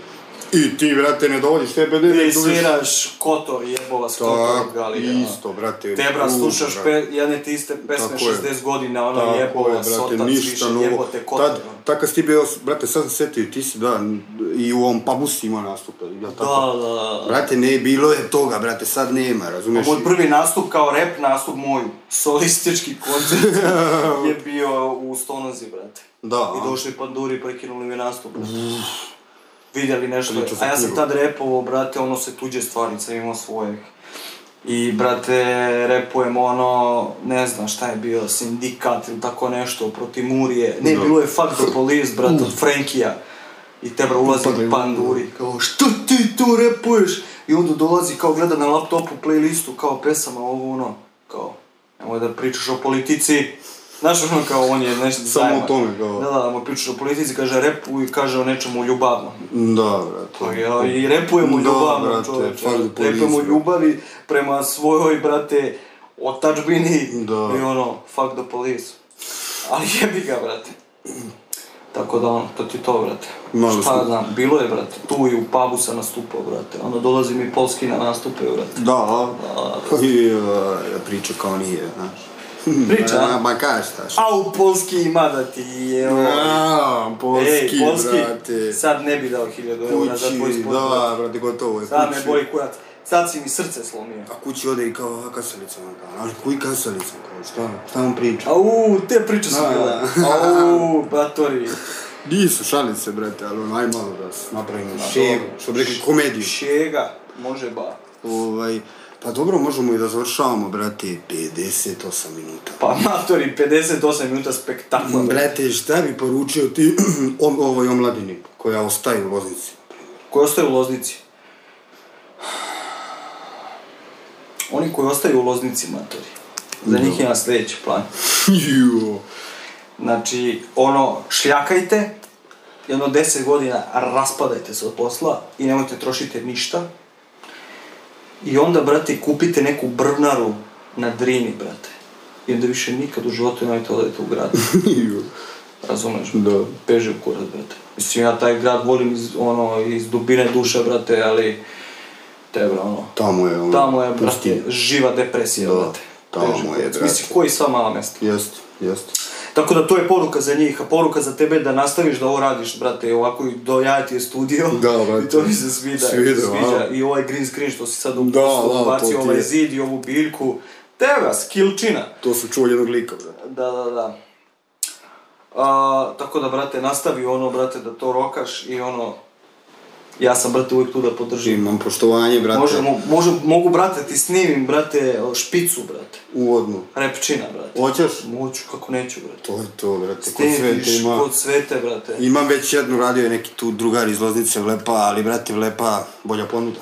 [SPEAKER 1] i ti, brate, ne dovodiš te bendove.
[SPEAKER 2] Ti
[SPEAKER 1] i dobiš-
[SPEAKER 2] sviraš Kotor jebova s Kotor
[SPEAKER 1] Tako,
[SPEAKER 2] Galija.
[SPEAKER 1] isto, brate.
[SPEAKER 2] Tebra,
[SPEAKER 1] u,
[SPEAKER 2] slušaš
[SPEAKER 1] brate.
[SPEAKER 2] pe, jedne te iste pesme
[SPEAKER 1] Tako je.
[SPEAKER 2] 60 godina, ono
[SPEAKER 1] Tako
[SPEAKER 2] jebova,
[SPEAKER 1] je,
[SPEAKER 2] brate, sotac, više, jebote, ono. Kotor.
[SPEAKER 1] Tad, tad kad si ti bio, brate, sad sam setio, ti si, da, i u ovom pabusi imao nastupa, jel tako?
[SPEAKER 2] da, da.
[SPEAKER 1] Brate, ne, bilo je toga, brate, sad nema, razumeš?
[SPEAKER 2] Moj prvi nastup kao rap nastup moj, solistički koncert je bio u Stonozi, brate.
[SPEAKER 1] Da,
[SPEAKER 2] I
[SPEAKER 1] a?
[SPEAKER 2] došli panduri, prekinuli mi nastup, brate. Vidjeli nešto,
[SPEAKER 1] Priča za
[SPEAKER 2] a ja sam
[SPEAKER 1] knjigu.
[SPEAKER 2] tad repovo, brate, ono se tuđe stvari, sam imao svoje. I, brate, repujem ono, ne znam šta je bio, sindikat ili tako nešto, protiv Murije. Ne,
[SPEAKER 1] Da.
[SPEAKER 2] bilo je fuck the police, brate, od Frankija. I te, bro, ulazi
[SPEAKER 1] Upadaju.
[SPEAKER 2] panduri, kao, što ti tu repuješ? I onda dolazi, kao, gleda na laptopu playlistu, kao, pesama, ovo, ono, kao, nemoj da pričaš o politici. Znaš, ono, kao, on je nešto...
[SPEAKER 1] Samo o
[SPEAKER 2] zajma.
[SPEAKER 1] tome, kao.
[SPEAKER 2] Da, da, mu pričaš o politici, kaže repu i kaže o nečemu ljubavnom.
[SPEAKER 1] Da, brate.
[SPEAKER 2] Ja, I repujemo
[SPEAKER 1] Da,
[SPEAKER 2] ljubavno,
[SPEAKER 1] brate,
[SPEAKER 2] čoveče.
[SPEAKER 1] fuck the police,
[SPEAKER 2] Repujemo
[SPEAKER 1] brate.
[SPEAKER 2] ljubavi prema svojoj, brate, otačbini.
[SPEAKER 1] Da.
[SPEAKER 2] I ono, fuck the police. Ali jebi ga, brate. Tako da, ono, to ti to, brate.
[SPEAKER 1] Malo
[SPEAKER 2] Šta
[SPEAKER 1] smo-
[SPEAKER 2] znam, bilo je, brate, tu i u pubu sam nastupao, brate. Ono, dolazi mi Polski na nastupe, brate.
[SPEAKER 1] Da, a? I, a, priča kao nije, znaš.
[SPEAKER 2] Priča, a?
[SPEAKER 1] Ma, ma kaj šta, šta?
[SPEAKER 2] A u Polski ima da ti je... ono,
[SPEAKER 1] A, polski,
[SPEAKER 2] Ej, Polski,
[SPEAKER 1] brate.
[SPEAKER 2] sad ne bi dao 1000 eura za tvoj
[SPEAKER 1] Kući,
[SPEAKER 2] sport. brate.
[SPEAKER 1] da, brate, gotovo je.
[SPEAKER 2] Sad me
[SPEAKER 1] kući.
[SPEAKER 2] boli kurac. Sad si mi srce slomio.
[SPEAKER 1] A kući ode i kao, a kasalica ono, vam kao, ali koji kasalica, kao, šta, šta vam priča?
[SPEAKER 2] Au, te priče su
[SPEAKER 1] Da.
[SPEAKER 2] bile. Au, batori.
[SPEAKER 1] Nisu šalice, brate, ali onaj malo da s- napravimo
[SPEAKER 2] Pa
[SPEAKER 1] šegu, što bi rekli komediju.
[SPEAKER 2] Šega, može ba.
[SPEAKER 1] Ovaj, pa dobro, možemo i da završavamo, brate, 58 minuta.
[SPEAKER 2] Pa matori, 58 minuta spektakla. brate.
[SPEAKER 1] Brate, šta bi poručio ti o, ovoj omladini koja ostaje u Loznici?
[SPEAKER 2] Koji ostaju u loznici? Oni koji ostaju u loznici, matori. Za njih imam sljedeći plan.
[SPEAKER 1] Jo.
[SPEAKER 2] Znači, ono, šljakajte, jedno 10 godina raspadajte se od posla i nemojte trošiti ništa. I onda, brate, kupite neku brvnaru na Drini, brate. I onda više nikad u životu nemojte odajte u grad.
[SPEAKER 1] Jo.
[SPEAKER 2] Razumeš?
[SPEAKER 1] Da.
[SPEAKER 2] Peže u kurac, brate. Mislim, ja taj grad volim iz, ono, iz dubine duše, brate, ali... Tebra, ono...
[SPEAKER 1] Tamo je ono.
[SPEAKER 2] Tamo je, brate,
[SPEAKER 1] pustinja.
[SPEAKER 2] živa depresija,
[SPEAKER 1] Da,
[SPEAKER 2] brate.
[SPEAKER 1] tamo
[SPEAKER 2] Peže u
[SPEAKER 1] je,
[SPEAKER 2] kurac.
[SPEAKER 1] brate.
[SPEAKER 2] Mislim, koji sva mala mesta.
[SPEAKER 1] Jeste, jeste.
[SPEAKER 2] Tako da to je poruka za njih, a poruka za tebe je da nastaviš da ovo radiš, brate, ovako i do jaja ti je studio.
[SPEAKER 1] Da, brate.
[SPEAKER 2] I to mi se svida,
[SPEAKER 1] Sviđa,
[SPEAKER 2] sviđa.
[SPEAKER 1] a?
[SPEAKER 2] I ovaj green screen što si sad
[SPEAKER 1] Da,
[SPEAKER 2] ubacio,
[SPEAKER 1] da,
[SPEAKER 2] ubacio
[SPEAKER 1] to ti
[SPEAKER 2] ovaj
[SPEAKER 1] je.
[SPEAKER 2] zid i ovu biljku. Tebra, skillčina.
[SPEAKER 1] To sam čuo jednog lika, brate.
[SPEAKER 2] Da, da, da. A, tako da, brate, nastavi ono, brate, da to rokaš i ono... Ja sam, brate, uvijek tu da podržim.
[SPEAKER 1] Imam poštovanje, brate.
[SPEAKER 2] Možemo, može, mogu, brate, ti snimim, brate, špicu, brate.
[SPEAKER 1] Uvodno.
[SPEAKER 2] Repčina, brate.
[SPEAKER 1] Hoćeš?
[SPEAKER 2] Moću, kako neću, brate.
[SPEAKER 1] To je to, brate. Kod sve te
[SPEAKER 2] Tebiš
[SPEAKER 1] ima...
[SPEAKER 2] kod svete, brate.
[SPEAKER 1] Imam već jednu, radio je neki tu drugar iz Loznice Vlepa, ali brate Vlepa, bolja ponuda.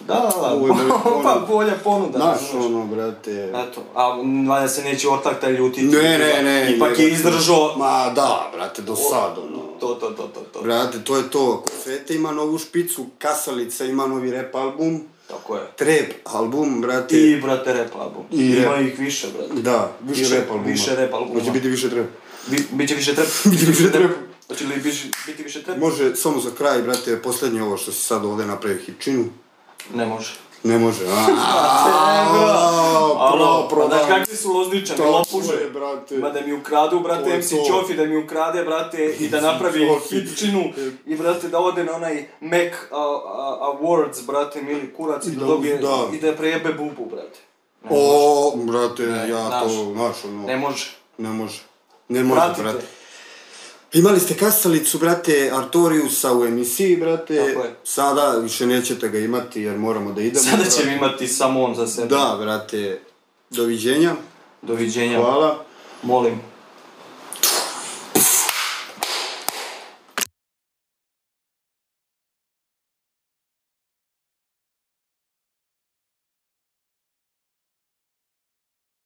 [SPEAKER 2] Da, da,
[SPEAKER 1] Ovo je bolja
[SPEAKER 2] da. pa
[SPEAKER 1] ponuda.
[SPEAKER 2] bolja ponuda.
[SPEAKER 1] ono- Znaš
[SPEAKER 2] razumeš.
[SPEAKER 1] ono, brate...
[SPEAKER 2] Eto, a valjda se neće ortak taj ljutiti.
[SPEAKER 1] Ne, ne, ne.
[SPEAKER 2] Ipak
[SPEAKER 1] ne, brate.
[SPEAKER 2] je izdržao.
[SPEAKER 1] Ma da, brate, do sad, ono.
[SPEAKER 2] To, to, to, to, to.
[SPEAKER 1] Brate, to je to. Svete ima novu špicu, Kasalica ima novi rap album,
[SPEAKER 2] Tako je.
[SPEAKER 1] Trap album, brate.
[SPEAKER 2] I, brate, rap album.
[SPEAKER 1] I
[SPEAKER 2] Ima
[SPEAKER 1] rap.
[SPEAKER 2] ih više, brate.
[SPEAKER 1] Da, više
[SPEAKER 2] Više-
[SPEAKER 1] rap albuma.
[SPEAKER 2] više rap albuma.
[SPEAKER 1] Hoće biti više trap.
[SPEAKER 2] Bi, biće više trap.
[SPEAKER 1] Biće više trap.
[SPEAKER 2] Hoće li biš- biti više trap?
[SPEAKER 1] Može, samo za kraj, brate, posljednje ovo što si sad ovdje napravio hitčinu.
[SPEAKER 2] Ne može.
[SPEAKER 1] Ne može, a? Aaa,
[SPEAKER 2] Alo,
[SPEAKER 1] pro, pro,
[SPEAKER 2] pa da
[SPEAKER 1] da.
[SPEAKER 2] kakvi su lozničani,
[SPEAKER 1] To
[SPEAKER 2] lopuže.
[SPEAKER 1] je, brate.
[SPEAKER 2] Ma da mi ukradu,
[SPEAKER 1] To
[SPEAKER 2] brate,
[SPEAKER 1] je
[SPEAKER 2] MC
[SPEAKER 1] to.
[SPEAKER 2] Čofi, da mi ukrade, brate, i da napravi
[SPEAKER 1] Čofi.
[SPEAKER 2] hitčinu i, brate, da ode na onaj Mac a, a, Awards, brate, mili kurac, i da
[SPEAKER 1] Da,
[SPEAKER 2] dobije,
[SPEAKER 1] da.
[SPEAKER 2] i da prejebe bubu, brate.
[SPEAKER 1] O, brate, ja
[SPEAKER 2] znaš.
[SPEAKER 1] to, znaš, ono,
[SPEAKER 2] Ne može.
[SPEAKER 1] ne može. Ne može,
[SPEAKER 2] Vratite.
[SPEAKER 1] brate. Imali ste kasalicu, brate, Artoriusa u emisiji, brate.
[SPEAKER 2] Tako je.
[SPEAKER 1] Sada više nećete ga imati jer moramo da idemo.
[SPEAKER 2] Sada
[SPEAKER 1] brate.
[SPEAKER 2] će imati samo on za sebe.
[SPEAKER 1] Da, brate, doviđenja,
[SPEAKER 2] Doviđenja.
[SPEAKER 1] hvala.
[SPEAKER 2] Molim.